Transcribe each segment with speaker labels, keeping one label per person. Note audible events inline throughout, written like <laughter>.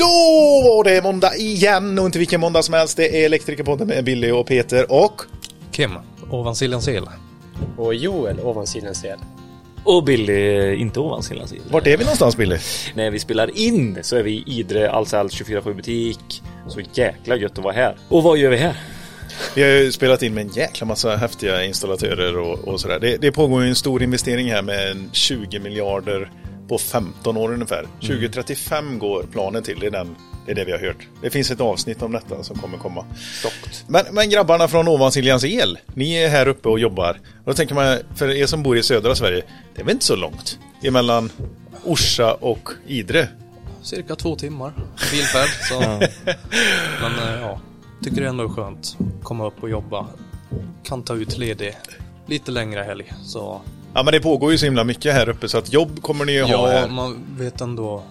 Speaker 1: Då var det måndag igen och inte vilken måndag som helst. Det är Elektrikerpodden med Billy och Peter och...
Speaker 2: Kim, ovan sillens el.
Speaker 3: Och Joel ovan sidans el.
Speaker 4: Och Billy, eh, inte ovan Siljan
Speaker 1: Vart är vi någonstans Billy?
Speaker 4: När vi spelar in så är vi i Idre Ahlsell 24-7 butik. Så jäkla gött att vara här. Och vad gör vi här?
Speaker 1: Vi har ju spelat in med en jäkla massa häftiga installatörer och, och sådär. Det, det pågår ju en stor investering här med 20 miljarder på 15 år
Speaker 4: Mm.
Speaker 1: ungefär. 2035 går planen till, det är, den, det är det vi har hört. Det finns ett avsnitt om detta som kommer komma.
Speaker 4: Stockt.
Speaker 1: Men, men grabbarna från Ovansiljans el, ni är här uppe och jobbar. Och då tänker man, för er som bor i södra Sverige, det är väl inte så långt emellan Orsa och Idre?
Speaker 2: Cirka två timmar bilfärd.
Speaker 1: <laughs>
Speaker 2: Så. Men eh, ja, tycker det ändå är skönt. Komma upp och jobba. Kan ta ut ledig lite längre helg. Så
Speaker 1: Ja men det pågår ju så himla mycket här uppe så att jobb kommer ni ju ha
Speaker 2: ja,
Speaker 1: här.
Speaker 2: man vet ändå.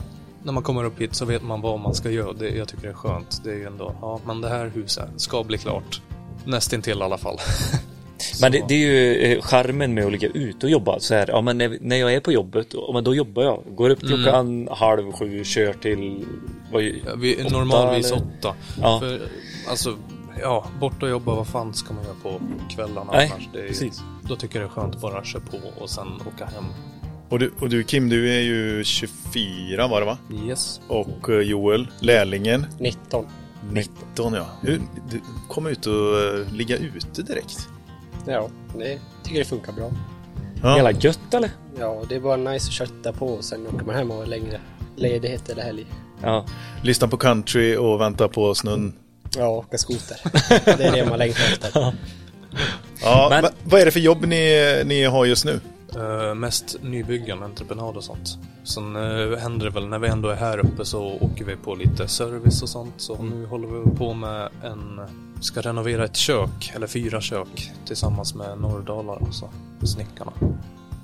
Speaker 2: När man kommer upp hit så vet man vad man ska göra. Det, jag tycker det är skönt. Det är ju ändå, ja men det här huset ska bli klart. Nästintill i alla fall. <laughs>
Speaker 4: Men det, det är ju eh, charmen med att ligga ute och jobba. Så här, ja, men när, när jag är på jobbet, och, men då jobbar jag. Går upp klockan halv sju, kör till... Vad,
Speaker 2: Mm. Ja, Vi, normalvis
Speaker 4: eller?
Speaker 2: åtta.
Speaker 4: Ja.
Speaker 2: För, alltså, ja, bort och jobba, vad fan ska man göra på kvällarna
Speaker 4: Nej,
Speaker 2: annars? Det är ju,
Speaker 4: precis.
Speaker 2: då tycker jag det är skönt att bara köra på och sen åka hem.
Speaker 1: Och du, och du Kim, du är ju 24 var det va?
Speaker 2: Yes.
Speaker 1: Och eh, Joel, lärlingen,
Speaker 3: 19.
Speaker 1: 19 ja. Hur, du kom ut och eh, ligga ute direkt.
Speaker 3: Ja, det tycker det funkar bra.
Speaker 4: Jävla
Speaker 1: Ja.
Speaker 4: gött eller?
Speaker 3: Ja, det är bara nice att kötta på och sen åker man hem och har längre ledighet eller helg.
Speaker 4: Ja.
Speaker 1: Lyssna på country och vänta på snön.
Speaker 3: Ja, åka skoter. <laughs> Det är det man längtar efter.
Speaker 1: Ja,
Speaker 4: Men-
Speaker 1: men... Vad är det för jobb ni, ni har just nu?
Speaker 2: Eh, mest nybyggen, entreprenad och sånt. Sen uh, händer det väl när vi ändå är här uppe så åker vi på lite service och sånt. Så
Speaker 3: Mm.
Speaker 2: nu håller vi på med en, ska renovera ett kök, eller fyra kök tillsammans med Norrdalar och så, snickarna.
Speaker 3: Mm.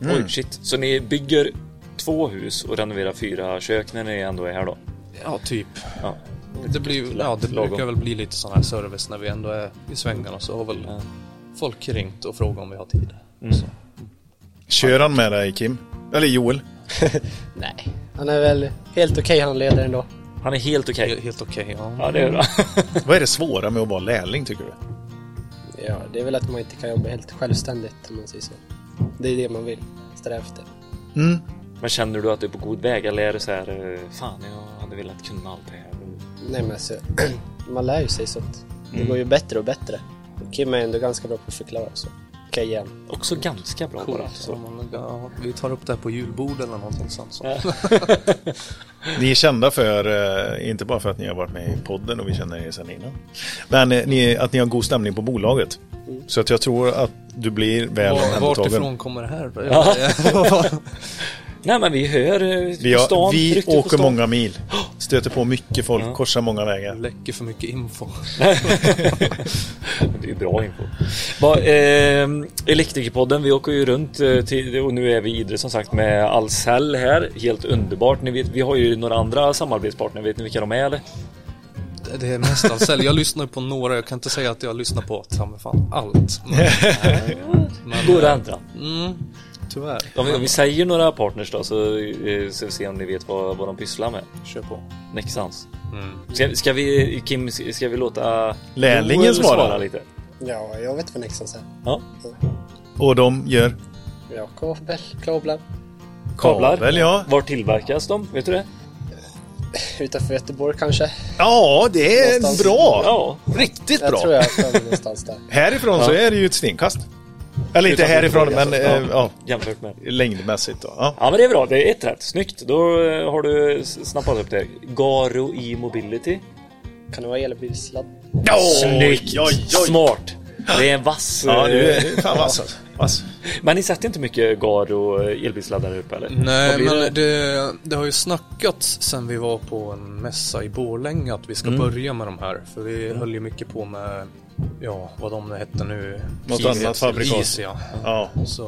Speaker 4: Mm. Oj, shit. Så ni bygger två hus och renoverar fyra kök när ni ändå är här då?
Speaker 2: Ja, typ.
Speaker 4: Ja.
Speaker 2: Det, blir, ja, det
Speaker 4: Lagom.
Speaker 2: brukar väl bli lite sån här service när vi ändå är i svängarna så har väl
Speaker 4: Ja.
Speaker 3: Mm.
Speaker 2: folk ringt och frågat om vi har tid.
Speaker 4: Mm.
Speaker 2: Så.
Speaker 1: Kör han med dig Kim?
Speaker 2: <laughs>
Speaker 1: Eller Joel?
Speaker 3: Nej, han är väl helt okej han leder ändå.
Speaker 4: Han är helt okej.
Speaker 2: He- Helt okej. ja.
Speaker 4: Ja, det är bra.
Speaker 1: <laughs> Vad är det svåra med att vara lärling tycker du?
Speaker 3: <laughs> Ja, det är väl att man inte kan jobba helt självständigt om man säger så. Det är det man vill sträva efter.
Speaker 4: Men känner du att du är på god väg eller är det så här, eh, fan jag hade velat kunna allt det här.
Speaker 3: Nej men alltså, <clears throat> man lär ju sig sånt.
Speaker 4: Mm.
Speaker 3: Det går ju bättre och bättre. Kim är ändå ganska bra på att förklara så. Okej igen.
Speaker 4: Också ganska bra alltså. på det.
Speaker 2: Coolt.
Speaker 4: Så.
Speaker 2: Om man- Ja, vi tar upp det här på julbord eller någonting sånt. Så.
Speaker 1: Ni är kända för, eh, inte bara för att ni har varit med i podden och vi känner er sedan innan. Men eh, ni, att ni har god stämning på bolaget. Så att jag tror att du blir väl
Speaker 2: Mm. Var,
Speaker 1: omhändertagen.
Speaker 2: vartifrån kommer det
Speaker 1: <laughs>
Speaker 2: här? <laughs>
Speaker 4: Ja. Nej men vi hör eh,
Speaker 1: Vi,
Speaker 4: på
Speaker 1: har,
Speaker 4: stan,
Speaker 1: vi
Speaker 4: ryktet på
Speaker 1: åker
Speaker 4: stan.
Speaker 2: <gasps>
Speaker 1: många mil, stöter på mycket folk, korsar många vägar.
Speaker 2: Läcker för mycket info.
Speaker 4: <laughs> Det är ju bra info. Va, eh, Elektrikerpodden, vi åker ju runt eh, till, och nu är vi i Idre som sagt med Ahlsell här. Helt underbart. Ni vet, vi har ju några andra samarbetspartner, vet ni vilka de är eller?
Speaker 2: <laughs> Det- Det är mest av sälj. Jag lyssnar på några, jag kan inte säga att jag lyssnar på ta
Speaker 1: <laughs>
Speaker 2: mig fan allt. Men, men,
Speaker 4: Går det andra?
Speaker 2: Mm, tyvärr.
Speaker 4: Om, om vi säger några partners då så eh, ska vi se om ni vet vad, vad de pysslar med.
Speaker 2: Kör på.
Speaker 4: Nexans.
Speaker 2: Mm.
Speaker 4: Ska, ska vi, Kim, ska vi låta
Speaker 1: Lärlingen
Speaker 4: Joel
Speaker 1: svara?
Speaker 4: lite?
Speaker 3: Ja, jag vet vad Nexans är.
Speaker 4: Ja.
Speaker 1: Och de gör
Speaker 3: Ja, kabel, kablar.
Speaker 4: Kablar.
Speaker 1: kabel, ja.
Speaker 4: Var tillverkas de? Vet du det?
Speaker 3: Utanför Göteborg kanske.
Speaker 1: Ja, det är
Speaker 3: Någonstans.
Speaker 1: bra.
Speaker 4: Ja.
Speaker 1: Riktigt
Speaker 3: Jag
Speaker 1: bra.
Speaker 3: tror jag har för mig någonstans där.
Speaker 1: Härifrån så är det ju ett stenkast. Eller inte
Speaker 4: Utanför
Speaker 1: härifrån,
Speaker 4: Göteborg,
Speaker 1: men eh,
Speaker 4: alltså.
Speaker 1: ja.
Speaker 4: Jämfört med.
Speaker 1: längdmässigt. Då. Ja.
Speaker 4: Ja men det är bra, det är ett rätt. Snyggt, då eh, har du s- snappat upp det. Garo i mobility.
Speaker 3: Kan det vara elbilsladd?
Speaker 4: Snyggt! Smart! Det är en vass.
Speaker 1: Ja, du
Speaker 4: eh,
Speaker 1: är fan vass. alltså. vass.
Speaker 4: Men ni sätter inte mycket Garo eh, elbilsladdare upp eller? Vad
Speaker 2: Nej,
Speaker 4: blir
Speaker 2: men
Speaker 4: det?
Speaker 2: det, det har ju snackats sen vi var på en mässa i Borlänge att vi
Speaker 1: Mm.
Speaker 2: ska börja med de här. För vi
Speaker 4: Mm.
Speaker 2: höll ju mycket på med, ja, vad de hette nu.
Speaker 1: Något
Speaker 2: Kies-
Speaker 1: annat fabrikat.
Speaker 2: Is, ja.
Speaker 1: Ja.
Speaker 2: Så,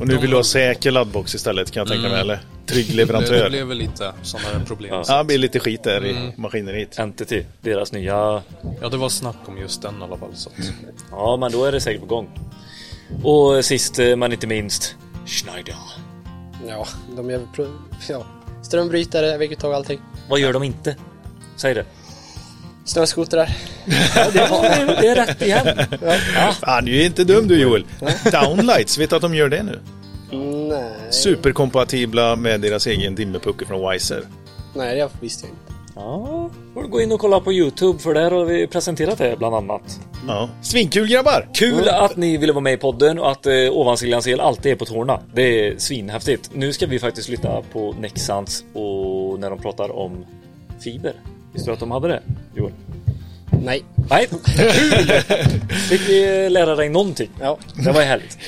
Speaker 1: Och nu vill du ha säker laddbox istället kan jag tänka mig, eller? Trygg
Speaker 2: det, Mm. <laughs> det Mm.
Speaker 1: leverantör.
Speaker 2: blev väl lite sådana problem.
Speaker 4: Ja.
Speaker 1: Ja, det blir lite skit där i maskineriet.
Speaker 4: Entity, deras nya...
Speaker 2: Ja, det var snack om just den i alla fall. Så att,
Speaker 4: Ja men då är det säkert på gång. Och eh, sist eh, men inte minst, Schneider.
Speaker 3: Ja, de gör pro- ja. strömbrytare, vägguttag och allting.
Speaker 4: Vad gör de inte? Säg det.
Speaker 3: Snöskotrar.
Speaker 4: Ja, det,
Speaker 3: <laughs>
Speaker 4: var, det är rätt igen. Ja.
Speaker 1: Fan, du är inte dum
Speaker 3: Mm.
Speaker 1: du Joel. Downlights, vet du att de gör det nu?
Speaker 3: Mm, Nej.
Speaker 1: Superkompatibla med deras egen dimmerpuckel från Wiser.
Speaker 3: Nej, det visste jag inte.
Speaker 4: ja, får du gå in och kolla på Youtube för där har vi presenterat det bland annat.
Speaker 1: Ja. Svinkul grabbar!
Speaker 4: Kul att ni ville vara med i podden och att eh, Ovansiljans el alltid är på tårna. Det är svinhäftigt. Nu ska vi faktiskt lyssna på Nexans och när de pratar om fiber. Visste du att de hade det? Joel?
Speaker 3: Nej. <laughs>
Speaker 4: Nej, kul! Fick vi eh, lära dig någonting?
Speaker 3: Ja.
Speaker 4: Det var ju härligt.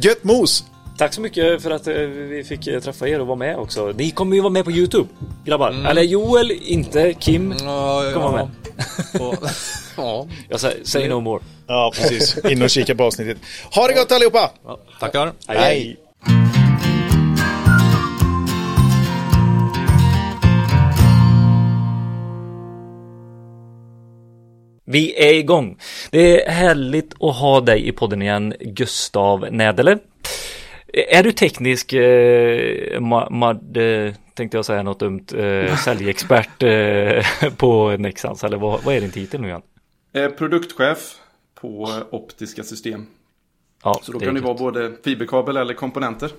Speaker 1: Gött mos!
Speaker 4: Tack så mycket för att eh, vi fick eh, träffa er och vara med också. Ni kommer ju vara med på Youtube, grabbar. Eller Joel, inte Kim.
Speaker 2: Mm. Ja, ja,
Speaker 4: Kom
Speaker 2: ja.
Speaker 4: med.
Speaker 2: Och- <laughs> ja.
Speaker 4: Jag säger, say no more.
Speaker 1: Ja,
Speaker 3: <laughs>
Speaker 1: precis. In och kika på avsnittet. Ha det gott allihopa!
Speaker 2: ja. Tackar.
Speaker 1: Hej.
Speaker 4: Vi är igång. Det är härligt att ha dig i podden igen, Gustav Nädele. Är du teknisk, eh, ma- mad, eh, tänkte jag säga något dumt, eh, säljexpert eh, <laughs> på Nexans, eller vad, vad är din titel nu igen?
Speaker 5: Eh, produktchef på eh, optiska system.
Speaker 4: Ja,
Speaker 5: Så då
Speaker 4: det
Speaker 5: kan
Speaker 4: är
Speaker 5: det vara både fiberkabel eller komponenter.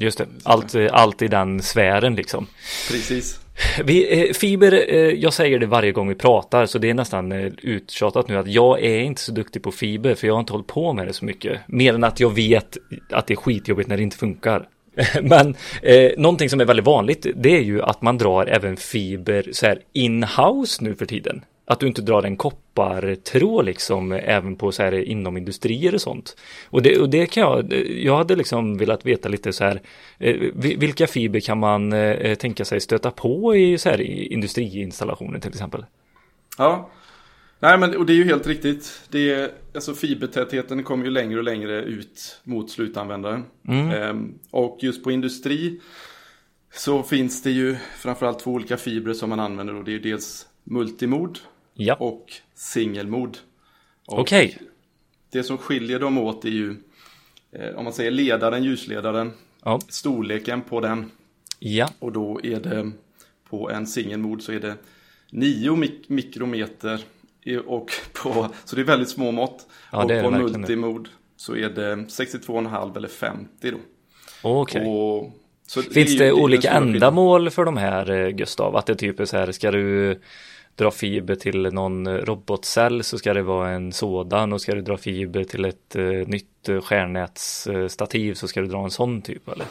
Speaker 4: Just det, allt, eh, allt i den sfären liksom.
Speaker 5: Precis.
Speaker 4: Vi, eh, fiber, eh, jag säger det varje gång vi pratar, så det är nästan eh, uttjatat nu att jag är inte så duktig på fiber, för jag har inte hållit på med det så mycket. Mer än att jag vet att det är skitjobbigt när det inte funkar. <laughs> Men eh, någonting som är väldigt vanligt, det är ju att man drar även fiber så här in-house nu för tiden. Att du inte drar en koppartråd liksom eh, även på så här inom industrier och sånt. Och det, och det kan jag, eh, jag hade liksom velat veta lite så här, eh, vi- vilka fiber kan man eh, tänka sig stöta på i så här i industriinstallationer till exempel?
Speaker 5: Ja. Nej, men och det är ju helt riktigt. Det är, alltså fibertätheten kommer ju längre och längre ut mot slutanvändaren.
Speaker 4: Mm.
Speaker 5: Ehm, och just på industri så finns det ju framförallt två olika fibrer som man använder. Och det är ju dels multimod
Speaker 4: Ja, okej.
Speaker 5: och singelmod. Och Det som skiljer dem åt är ju, eh, om man säger ledaren, ljusledaren,
Speaker 4: Ja.
Speaker 5: storleken på den.
Speaker 4: Ja,
Speaker 5: Och då är det på en singelmod så är det 9 mik- mikrometer. i- Och <laughs> på, så det är väldigt små mått.
Speaker 4: Ja,
Speaker 5: och
Speaker 4: det är
Speaker 5: på
Speaker 4: det verkligen.
Speaker 5: multimod så är det 62,5 eller 50 då.
Speaker 4: okej.
Speaker 5: Och, så
Speaker 4: Finns
Speaker 5: är ju-
Speaker 4: det
Speaker 5: är ju den
Speaker 4: olika
Speaker 5: stora skillnaden.
Speaker 4: ändamål för de här eh, Gustav? Att det typ är så här, ska du dra fiber till någon robotcell så ska det vara en sådan och ska du dra fiber till ett eh, nytt eh, stjärnnätsstativ så ska du dra en sån typ eller?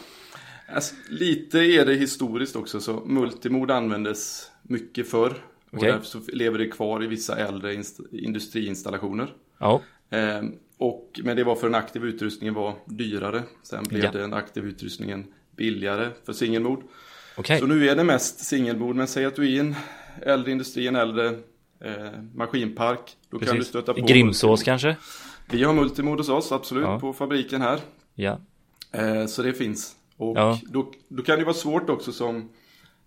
Speaker 5: Alltså, lite är det historiskt också, så multimod användes mycket förr. Och
Speaker 4: Okej.
Speaker 5: därför så lever det kvar i vissa äldre inst- industriinstallationer.
Speaker 4: Ja,
Speaker 5: Eh, och, men det var för den aktiva utrustningen var dyrare. Sen blev
Speaker 4: Ja.
Speaker 5: den aktiva utrustningen billigare för singelmod.
Speaker 4: okej.
Speaker 5: Så nu är det mest singelmod, men säg att du är i en äldre industri, en äldre eh, maskinpark. Då kan du
Speaker 4: Precis.
Speaker 5: stöta på...
Speaker 4: Grimsås kanske?
Speaker 5: Vi har multimod hos oss, absolut,
Speaker 4: Ja.
Speaker 5: på fabriken här.
Speaker 4: Ja,
Speaker 5: Eh, så det finns. Och
Speaker 4: Ja.
Speaker 5: då, då kan det vara svårt också som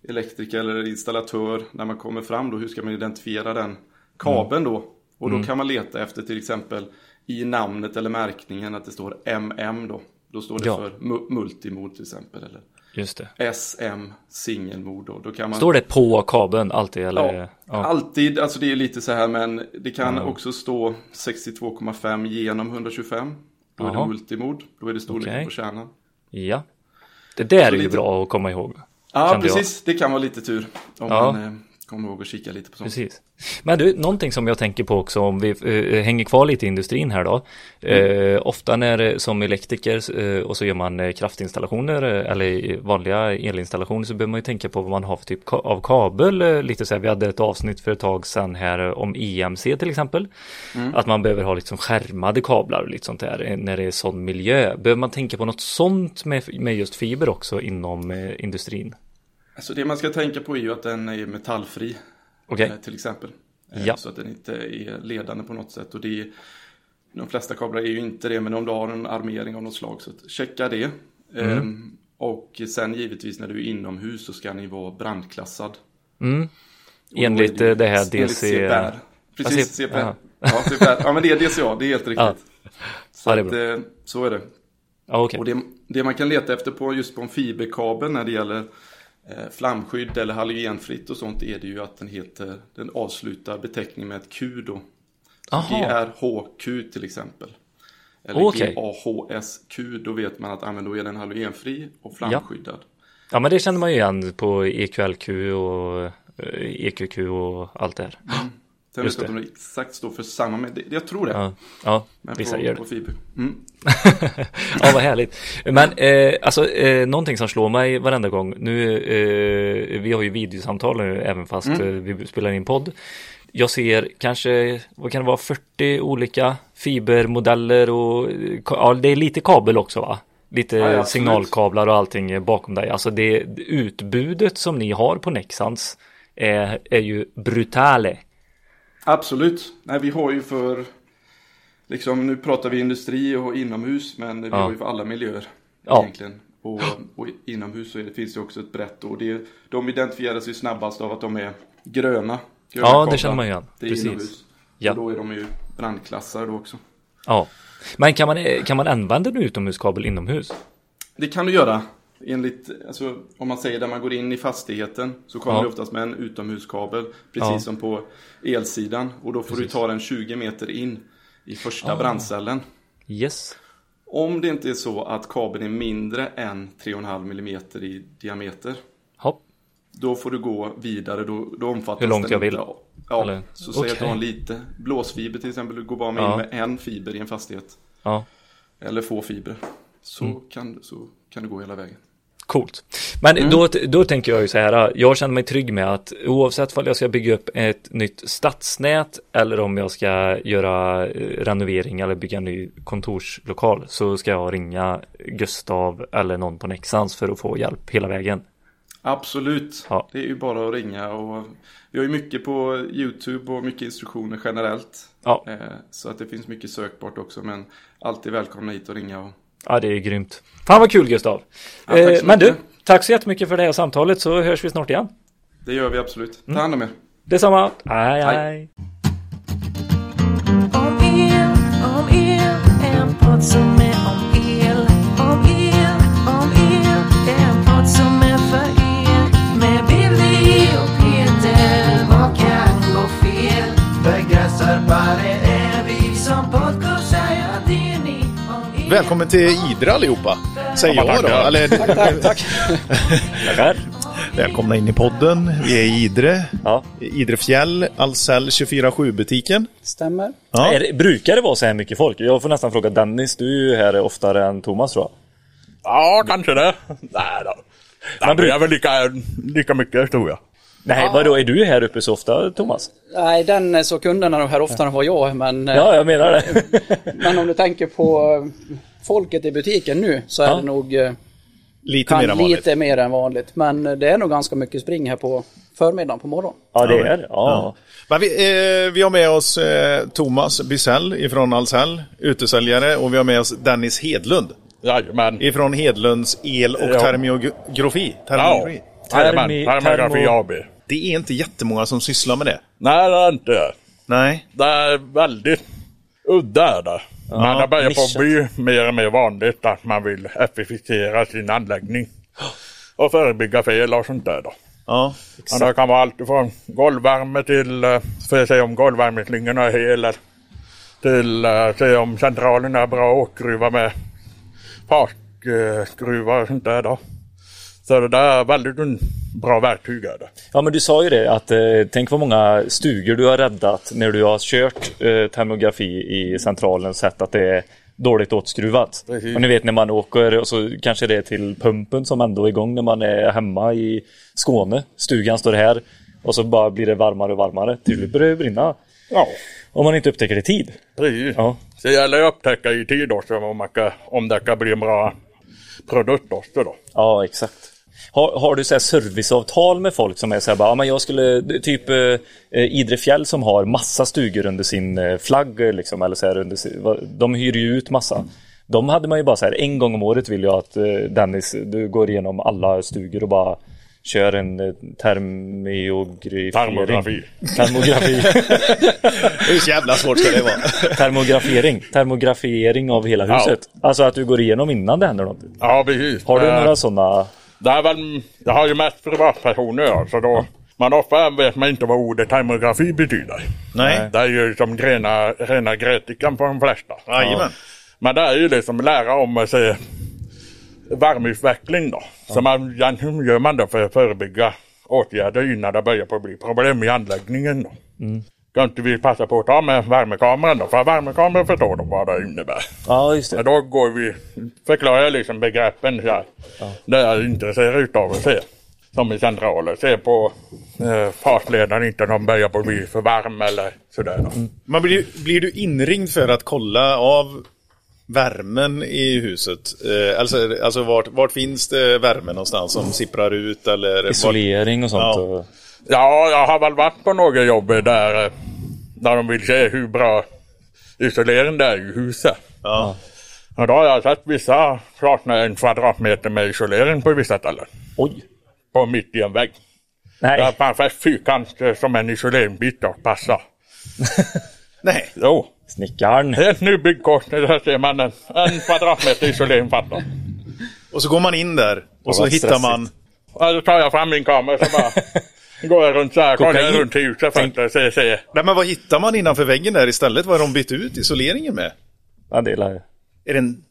Speaker 5: elektriker eller installatör när man kommer fram då, hur ska man identifiera den
Speaker 4: Mm.
Speaker 5: kabeln då? Och då kan man leta efter till exempel i namnet eller märkningen att det står MM då. Då står det
Speaker 4: Ja.
Speaker 5: för mu- multimod till exempel. Eller
Speaker 4: just det.
Speaker 5: SM singelmod då. då kan man,
Speaker 4: Står det på kabeln alltid eller?
Speaker 5: Ja,
Speaker 4: Ja.
Speaker 5: Alltid, alltså det är lite så här men det kan också stå 62,5 genom 125. Då är
Speaker 4: Jaha.
Speaker 5: det multimod, då är det storleken
Speaker 4: Okej.
Speaker 5: på kärnan.
Speaker 4: ja. Det där är ju
Speaker 5: lite-
Speaker 4: bra att komma ihåg.
Speaker 5: Ja,
Speaker 4: kände jag.
Speaker 5: precis. Det kan vara lite tur om
Speaker 4: Ja.
Speaker 5: man eh, kommer ihåg att kika lite på sånt.
Speaker 4: Precis. Men du, någonting som jag tänker på också om vi eh, hänger kvar lite i industrin här då. Eh, ofta när eh, som elektriker eh, och så gör man eh, kraftinstallationer eh, eller i vanliga elinstallationer så behöver man ju tänka på vad man har för typ ka- av kabel. Eh, lite så här, vi hade ett avsnitt för ett tag sedan här eh, om EMC till exempel. Att man behöver ha liksom skärmade kablar och lite sånt där eh, när det är sån miljö. Behöver man tänka på något sånt med, med just fiber också inom eh, industrin?
Speaker 5: Alltså det man ska tänka på är ju att den är metallfri
Speaker 4: Okej,
Speaker 5: eh, till exempel. Eh,
Speaker 4: Ja.
Speaker 5: Så att den inte är ledande på något sätt. Och det är, de flesta kablar är ju inte det, men om du har en armering av något slag så att checka det.
Speaker 4: Mm.
Speaker 5: Ehm, och sen givetvis när du är inomhus så ska ni vara brandklassad.
Speaker 4: Mm.
Speaker 5: Och då
Speaker 4: enligt
Speaker 5: är ju-
Speaker 4: eh, det här
Speaker 5: enligt
Speaker 4: DC...
Speaker 5: CPR. Precis,
Speaker 4: Ja,
Speaker 5: CPR.
Speaker 4: ja.
Speaker 5: Ja. CPR. Ja, men det är DCA, det är helt riktigt.
Speaker 4: <laughs> Ja.
Speaker 5: Så,
Speaker 4: Ja, det är
Speaker 5: att,
Speaker 4: bra.
Speaker 5: eh, så är det.
Speaker 4: Ja, okej.
Speaker 5: Och det, det man kan leta efter på just på en fiberkabel när det gäller eh, flamskydd eller halogenfritt och sånt är det ju att den heter, den avslutar beteckningen med ett Q då. Så
Speaker 4: Aha.
Speaker 5: GRHQ till exempel. Eller
Speaker 4: Okej.
Speaker 5: GAHSQ, då vet man att ja, men då är den halogenfri och flamskyddad.
Speaker 4: Ja, men det känner man ju igen på E EQLQ och eh, EQQ och allt det här.
Speaker 5: Mm. Sen
Speaker 4: Just
Speaker 5: vet jag inte om det exakt står för samma, men det, jag tror det.
Speaker 4: Ja, ja
Speaker 5: men
Speaker 4: vissa
Speaker 5: på,
Speaker 4: gör det.
Speaker 5: på fiber. Mm.
Speaker 4: <laughs> Ja, vad härligt. Men eh, alltså, eh, någonting som slår mig varenda gång. Nu, eh, vi har ju videosamtal nu, även fast
Speaker 5: Mm.
Speaker 4: eh, vi spelar in podd. Jag ser kanske, vad kan det vara, 40 olika fibermodeller och eh, ka- ja, det är lite kabel också va? Lite
Speaker 5: Ja, ja, absolut.
Speaker 4: signalkablar och allting eh, bakom dig. Alltså det utbudet som ni har på Nexans är, är ju brutale.
Speaker 5: Absolut. Nej, vi har ju för, liksom, nu pratar vi industri och inomhus, men vi
Speaker 4: Ja.
Speaker 5: har ju för alla miljöer
Speaker 4: Ja.
Speaker 5: egentligen. Och, och inomhus så är det, finns det också ett brett och det, de identifieras ju snabbast av att de är gröna. gröna
Speaker 4: Ja, det
Speaker 5: kablar.
Speaker 4: känner man igen.
Speaker 5: Det är
Speaker 4: Precis.
Speaker 5: inomhus.
Speaker 4: Ja.
Speaker 5: Och då är de ju brandklassade då också.
Speaker 4: Ja. Men kan man, eh, kan man använda en utomhuskabel inomhus?
Speaker 5: Det kan du göra. Enligt, alltså, om man säger där man går in i fastigheten så kommer
Speaker 4: Ja.
Speaker 5: det oftast med en utomhuskabel. Precis
Speaker 4: Ja.
Speaker 5: som på elsidan. Och då får du ta den 20 meter in i första brandcellen.
Speaker 4: Ah. Yes.
Speaker 5: Om det inte är så att kabeln är mindre än 3,5 millimeter i diameter.
Speaker 4: Hopp.
Speaker 5: Då får du gå vidare. Då, då omfattas
Speaker 4: Hur långt
Speaker 5: den
Speaker 4: jag vill?
Speaker 5: inte av- Ja,
Speaker 4: Eller-
Speaker 5: så säg att du
Speaker 4: Okej.
Speaker 5: har en lite blåsfiber till exempel. Du går bara med
Speaker 4: Ja.
Speaker 5: in med en fiber i en fastighet.
Speaker 4: Ja. Mm.
Speaker 5: Eller få fibrer. Så, kan, så kan du gå hela vägen.
Speaker 4: Coolt. Men
Speaker 5: Mm.
Speaker 4: då, då tänker jag ju så här, äh, jag känner mig trygg med att oavsett om jag ska bygga upp ett nytt stadsnät eller om jag ska göra eh, renovering eller bygga en ny kontorslokal så ska jag ringa Gustav eller någon på Nexans för att få hjälp hela vägen.
Speaker 5: Absolut,
Speaker 4: Ja.
Speaker 5: det är ju bara att ringa och vi har ju mycket på YouTube och mycket instruktioner generellt.
Speaker 4: Ja,
Speaker 5: Eh, Så att det finns mycket sökbart också men alltid välkomna hit och ringa. Och...
Speaker 4: ja det är grymt. Fan vad kul Gustav.
Speaker 5: Ja, tack så
Speaker 4: eh, men du,
Speaker 5: mycket.
Speaker 4: tack så jättemycket för det här samtalet så hörs vi snart igen.
Speaker 5: Det gör vi absolut.
Speaker 4: Mm.
Speaker 5: Ta hand om er.
Speaker 4: Detsamma. Hej,
Speaker 5: Hej.
Speaker 4: hej.
Speaker 6: Om el, om el, en podd som är om el. Om el, om el, en podd som är för er. Med Billy och Peter, vad kan gå fel? Begränsar bara är vi som podcastar, ja det är ni. Om el,
Speaker 1: Välkommen till Idre allihopa, säger jag då. Eller,
Speaker 4: Tackar.
Speaker 1: Välkomna in i podden. Vi är i Idre.
Speaker 4: Ja.
Speaker 1: Idrefjäll, Ahlsell 24-7-butiken.
Speaker 3: Stämmer.
Speaker 1: Ja.
Speaker 4: Är det, brukar det vara så här mycket folk? Jag får nästan fråga Dennis, du är ju här oftare än Thomas tror jag.
Speaker 7: Ja, kanske det. Nej då.
Speaker 4: Men
Speaker 7: Men
Speaker 4: bru-
Speaker 7: det är väl lika, lika mycket tror jag.
Speaker 4: Nej, vadå, är du här uppe så ofta Thomas?
Speaker 8: Nej, den eh, så kunderna de här oftare än vad jag, men, eh,
Speaker 4: Ja, jag menar det.
Speaker 8: <laughs> men om du tänker på eh, folket i butiken nu så är
Speaker 4: Ja.
Speaker 8: det nog eh,
Speaker 1: Lite
Speaker 8: kan
Speaker 1: mer än vanligt.
Speaker 8: lite mer än vanligt. Men eh, det är nog ganska mycket spring här på förmiddagen på morgonen.
Speaker 4: Ja, det är ja.
Speaker 1: Men vi, eh, vi har med oss eh, Thomas Bysell ifrån Ahlsell, utesäljare. Och vi har med oss Dennis Hedlund
Speaker 7: Jajamän.
Speaker 1: ifrån Hedlunds El och
Speaker 7: Ja.
Speaker 1: termiografi.
Speaker 7: Ja.
Speaker 1: termiografi.
Speaker 7: Jajamän.
Speaker 4: Termi-
Speaker 7: Termografi
Speaker 4: termo-
Speaker 7: AB.
Speaker 1: Det är inte jättemånga som sysslar med det.
Speaker 7: Nej, det är inte.
Speaker 1: Nej.
Speaker 7: Det är väldigt udda är det. Men det börjar på att bli mer och mer vanligt att man vill effektivisera sin anläggning. Och förebygga fel och sånt där då.
Speaker 1: Ja.
Speaker 7: Men det kan vara allt från golvvärme till, eh, för att se om golvvärmeslingorna är hela. Till eh, se om centralen är bra åkgruva med parkgruva och sånt där då. Så det där är väldigt un- bra verktyg är det.
Speaker 4: ja, men du sa ju det att eh, tänk vad många stugor du har räddat när du har kört eh, termografi i centralen och sett att det är dåligt åtskruvat.
Speaker 7: Precis.
Speaker 4: Och ni vet när man åker och så kanske det är till pumpen som ändå är igång när man är hemma i Skåne. Stugan står här och så bara blir det varmare och varmare. Till slut börjar det brinna.
Speaker 7: Ja,
Speaker 4: Om man inte upptäcker det i tid.
Speaker 7: precis.
Speaker 4: Ja.
Speaker 7: Så det gäller att upptäcka i tid också om, man kan, om det kan bli en bra produkt också då.
Speaker 4: Ja, exakt. Har, har du så här serviceavtal med folk som är så här bara, ja, men jag skulle, typ eh, eh, Idre Fjäll som har massa stugor under sin eh, flagg eh, liksom, eller så här under sin, vad- de hyr ju ut massa. De hade man ju bara så här, en gång om året vill jag att eh, Dennis, du går igenom alla stugor och bara kör en eh, termiografering.
Speaker 7: Termografi. <laughs>
Speaker 4: Termografi. <laughs>
Speaker 1: Hur jävla svårt ska det vara?
Speaker 4: Termografering. Termografering av hela
Speaker 7: Ja.
Speaker 4: huset. Alltså att du går igenom innan det händer något.
Speaker 7: Ja, precis.
Speaker 4: Har du
Speaker 7: Eh,
Speaker 4: några sådana?
Speaker 7: Det är väl, jag har ju mest privatpersoner ja, så då man ofta vet man inte vad ordet hemografi betyder.
Speaker 1: Nej.
Speaker 7: Det är ju som rena, rena grötikan på de flesta.
Speaker 1: Jajamän.
Speaker 7: Men det är ju liksom lära om att se varmutveckling då. Så man, hur gör man då för att förebygga åtgärder innan det börjar på att bli problem i anläggningen då?
Speaker 4: Mm.
Speaker 7: Kan inte vi passa på att ta med värmekameran då? För värmekameran förstår de vad det innebär.
Speaker 4: Ja, just det.
Speaker 7: Men då går vi, förklarar jag liksom begreppen så här. Det jag är intresserad utav att se. Som i centraler, se på eh, fartledaren inte de börjar på att bli för varm eller sådär. Då.
Speaker 1: Mm. Man blir, blir du inringd för att kolla av värmen i huset? Eh, alltså alltså vart, vart finns det värme någonstans som sipprar ut? Eller
Speaker 4: Isolering och sånt.
Speaker 1: Ja.
Speaker 4: och-
Speaker 7: Ja, jag har väl varit på några jobb där, eh, där de vill se hur bra isolering det är i huset.
Speaker 1: Ja.
Speaker 7: Och då har jag sett vissa saknar en kvadratmeter med isolering på vissa ställen.
Speaker 4: Oj!
Speaker 7: På mitt i en vägg.
Speaker 4: Nej.
Speaker 7: Det är perfekt fyrkant eh, som en isoleringsbit och
Speaker 4: <laughs>
Speaker 7: passar.
Speaker 1: Nej.
Speaker 7: Jo,
Speaker 4: Snickaren.
Speaker 7: helt nybyggd korsning där ser man en, en kvadratmeter isolering fattar.
Speaker 1: Och så går man in där och så
Speaker 4: vad
Speaker 1: hittar
Speaker 4: stressigt.
Speaker 1: man...
Speaker 7: Och då tar jag fram min kamera så bara
Speaker 4: <laughs>
Speaker 7: går jag runt så här, kollar jag
Speaker 4: Kokain.
Speaker 7: runt i huset för att se, se.
Speaker 1: Nej, men vad hittar man innanför väggen där istället? Vad har de bytt ut isoleringen med?
Speaker 4: Ja, det är
Speaker 1: Är det en...